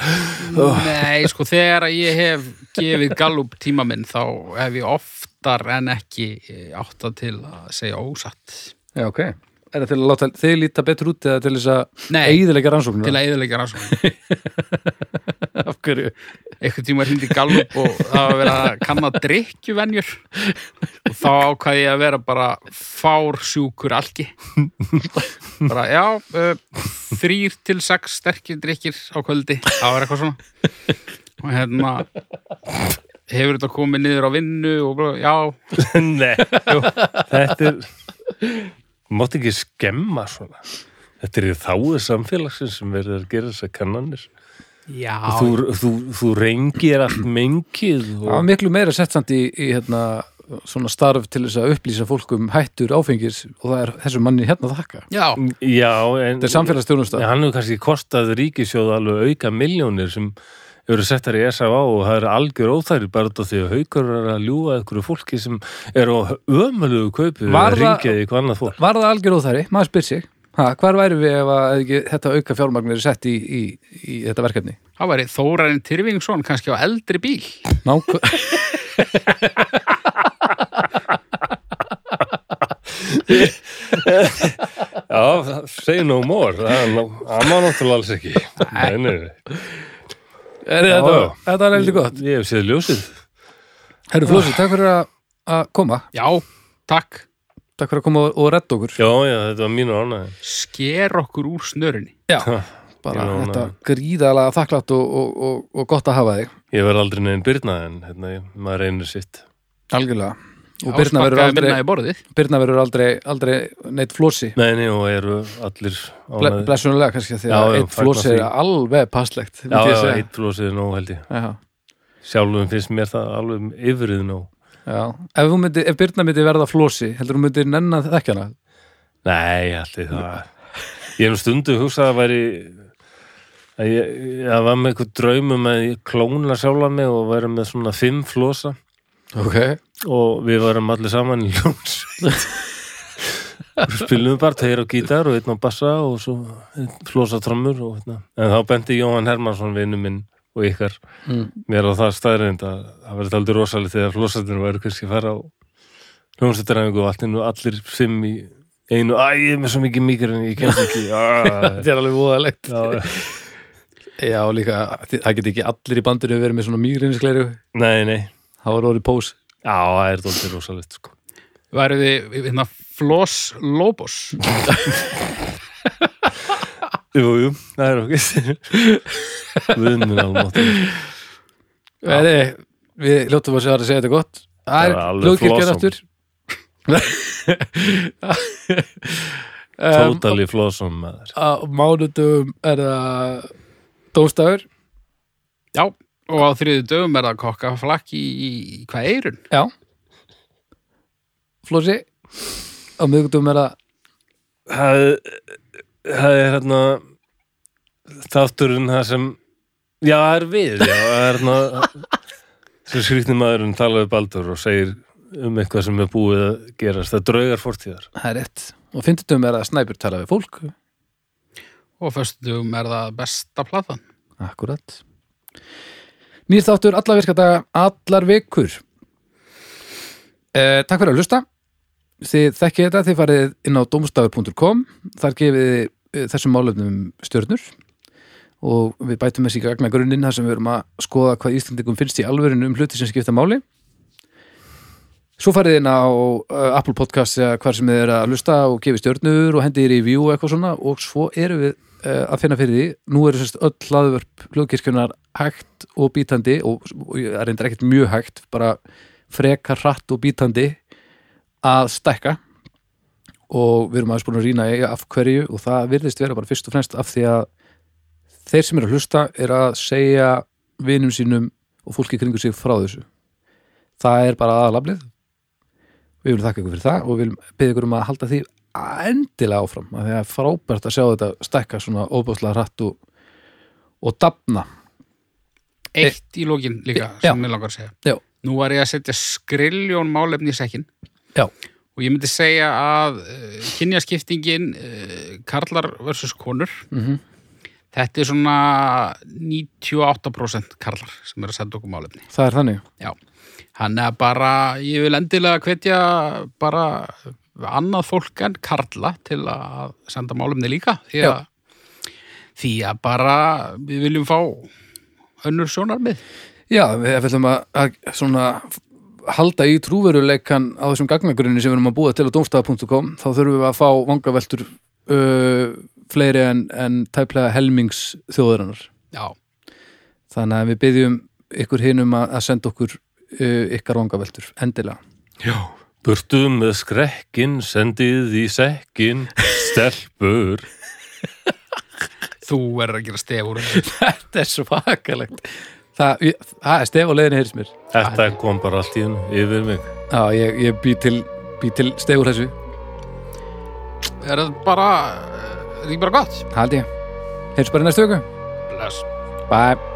Speaker 1: Nei, sko, þegar að ég hef gefið gallup tíma minn þá hef ég oftar en ekki átta til að segja ósatt.
Speaker 2: Já, ok. Er það til að láta þig líta betur út eða til þess að
Speaker 1: Nei,
Speaker 2: eigðilega rannsóknir?
Speaker 1: til að eðalega rannsókn.
Speaker 2: Af hverju?
Speaker 1: Eitthvað tíma hindi gallup og það var verið að kanna drikkjuvenjur og þá ákvað ég að vera bara fársjúkur algi. Bara, já, uh, þrýr til sex sterkir drikkir á kvöldi, það var eitthvað svona. Og hérna, hefur þetta komið niður á vinnu og bara, já,
Speaker 3: Nei, jú, þetta er mátt ekki skemma svona þetta er í þáðu samfélagsins sem verður að gera þessar kannanir
Speaker 1: já,
Speaker 3: þú, þú, þú rengir allt mengið
Speaker 2: Það var
Speaker 3: og
Speaker 2: miklu meira sett samt í, í hérna, svona starf til þess að upplýsa fólk um hættur áfengis og það er þessum manni hérna að þakka.
Speaker 1: já,
Speaker 3: já, en
Speaker 2: Þetta er samfélagsstjórnumstaf.
Speaker 3: en hann hefur kannski kostað ríkisjóð alveg auka miljónir sem eru settar í SFA og það eru algjör óþæri bara út af því að haukur er að ljúga einhverju fólki sem eru á ömulugu kaupið
Speaker 2: Var
Speaker 3: að
Speaker 2: það-
Speaker 3: ringja í hvað annað fólk
Speaker 2: Var það algjör óþæri? Maður spyr sig. Ha, hvar væri við ef að ekki, þetta auka fjármagnir er sett í, í, í þetta verkefni?
Speaker 1: Það væri Þórarinn Tyrfingsson kannski á eldri bíl.
Speaker 2: Nákvæm.
Speaker 3: Já, say no more það má náttúrulega alls ekki Nei, nei, nei
Speaker 2: Er
Speaker 3: Já,
Speaker 2: þetta,
Speaker 3: já.
Speaker 2: þetta var eitthvað gott.
Speaker 3: Ég hef séð ljósið.
Speaker 2: Herru Flósi, takk fyrir að- að koma.
Speaker 1: Já, takk.
Speaker 2: Takk fyrir að koma og- og redda okkur.
Speaker 3: Já, já, þetta var mínu ánæði.
Speaker 1: Sker okkur úr snörunni.
Speaker 2: Bara
Speaker 3: Já,
Speaker 2: þetta gríðalega þakklátt og, og, og, og gott að hafa þig.
Speaker 3: Ég verð aldrei neginn Birna en hérna, ég- maður reynir sitt.
Speaker 2: Algjörlega. Og Birna verður
Speaker 1: Ásparkaði
Speaker 2: aldrei,
Speaker 1: minna í borðið.
Speaker 2: Birna verður aldrei, aldrei neitt Flósi.
Speaker 3: Nei, nei, og eru allir
Speaker 2: Ble-
Speaker 3: ánæði.
Speaker 2: blessunulega kannski því
Speaker 3: Já,
Speaker 2: að
Speaker 3: já,
Speaker 2: eitt
Speaker 3: fagna
Speaker 2: flósi er
Speaker 3: því.
Speaker 2: alveg passlegt
Speaker 3: Já,
Speaker 2: myndi ég
Speaker 3: já,
Speaker 2: segja.
Speaker 3: eitt ljósið er nóg held ég.
Speaker 2: já,
Speaker 3: Sjálfum finnst mér það alveg yfirið nóg.
Speaker 2: já. Ef, hún myndi, ef Birna myndi verða flósi heldur hún myndi nennan þekkjana
Speaker 3: Nei, allir það. Ég hef nú stundu hugsað að væri að ég, ég var með eitthvað draumum að ég klóna sjálfa mig og væri með svona fimm flosa
Speaker 2: ok,
Speaker 3: og við varum allir saman í ljóns spilum bara tveir á gítar og einn á bassa og svo flosa trommur og hérna. en þá bendi Jóhann Hermansson vinnu minn og ykkar
Speaker 2: Mm.
Speaker 3: mér á það staðrind að það verði aldrei rosalega þegar flosatinn væri kannski að fara á hljómsættaræfingu og allt innu allir fimm í einu, æ, ég er með svo mikið mikið en ég kemst ekki Ah.
Speaker 2: þetta er alveg voðalegt
Speaker 3: Já,
Speaker 2: já, líka, þi- það geti ekki allir í bandinu verið með svona mýgrinskleru
Speaker 3: nei, nei,
Speaker 2: það var orðið pós
Speaker 3: já, það er dóldi rosalegt sko.
Speaker 1: Væru þið hérna Floss Lobos.
Speaker 3: jú, jú, það er okkur viðminn alveg
Speaker 2: Nei, við ljóttum að segja að segja þetta gott það
Speaker 3: Það er
Speaker 2: er
Speaker 3: alveg
Speaker 2: hljóðkirkjan
Speaker 3: flossom.
Speaker 2: aftur um,
Speaker 3: Totally flossom maður
Speaker 2: á mánudum er það dómstafur
Speaker 1: Já, og á þriðu dögum er það kokkaflakk í, í, í hvað eirun?
Speaker 2: Já Flósi á miðgutum er að
Speaker 3: það, það er hérna þátturinn það sem já, það er við já, það er hérna sem skrýtni maðurinn talaði baldur og segir um eitthvað sem er búið að gerast það draugar fórtíðar
Speaker 2: það er rétt og fyndutum er að snæpur tala við fólk
Speaker 1: Og á föstu dögum er það besta platan.
Speaker 2: Akkurat Nýr þáttur alla virkadaga allar vikur eh, Takk fyrir að hlusta Þið þekkið þetta, þið farið inn á domstafur.com þar gefið þið, eh, þessum málefnum stjörnur og við bætum þessi gagna grunninn þar sem við erum að skoða hvað Íslandingum finnst í alvörinu um hluti sem skipta máli Svo farið inn á eh, Apple Podcast eða hvar sem þið eru að hlusta og gefið stjörnur og hendið í review og eitthvað svona og svo erum við eh, að finna fyrir því nú eru sérst öll hlaðvörp hljóðkirkjunar hægt og bítandi og, og ég er reyndar ekkert mjög hægt bara frekar hratt og bítandi að stækka og við erum aðeins búin að rýna í af hverju og það virðist vera bara fyrst og fremst af því að þeir sem eru að hlusta er að segja vinum sínum og fólki kringu sig frá þessu það er bara aðalablið við viljum þakka ykkur fyrir það og við viljum beða ykkur um að halda því endilega áfram af því að það er frábært að sjá þetta stækka svona óbúðslega hratt og, og dafna
Speaker 1: Eitt í lókin líka,
Speaker 2: Eh, Já.
Speaker 1: sem ég langar að segja.
Speaker 2: Já.
Speaker 1: Nú var ég að setja skriljón málefni í sekkin.
Speaker 2: Já.
Speaker 1: og ég myndi segja að uh, kynjaskiptingin uh, karlar versus konur
Speaker 2: Mhm.
Speaker 1: þetta er svona 98% karlar sem er að senda okkur málefni
Speaker 2: það er þannig
Speaker 1: Já, hann er bara, ég vil endilega hvetja bara annað fólk en Karla til að senda málumni líka því að, því að bara við viljum fá önnur sjónarmið.
Speaker 2: Já, við ef við ætlum að, að svona halda í trúveruleikan á þessum gagnagrunni sem við erum að búa til á domstafa.com þá þurfum við að fá vangaveltur uh, fleiri en, en tæplega helmings þjóðurinnar
Speaker 1: Já,
Speaker 2: þannig að við byggjum ykkur hinum að, að senda okkur uh, ykkar vangaveltur, endilega
Speaker 1: Já.
Speaker 3: Burtu með skrekkin, sendið í sekkin, stelpur.
Speaker 1: þú verður að gera stefur.
Speaker 2: Þetta er svakalegt Það, ég, það er stef á leiðinni heyrðis mér
Speaker 3: Þetta kom bara allt í hennu yfir mig.
Speaker 2: Já, ég, ég bý til, bý til stef úr þessu,
Speaker 1: Er það bara, er það ekki bara gott?
Speaker 2: haldi ég Heyrðis bara í næstu vöku,
Speaker 1: Bless.
Speaker 2: bye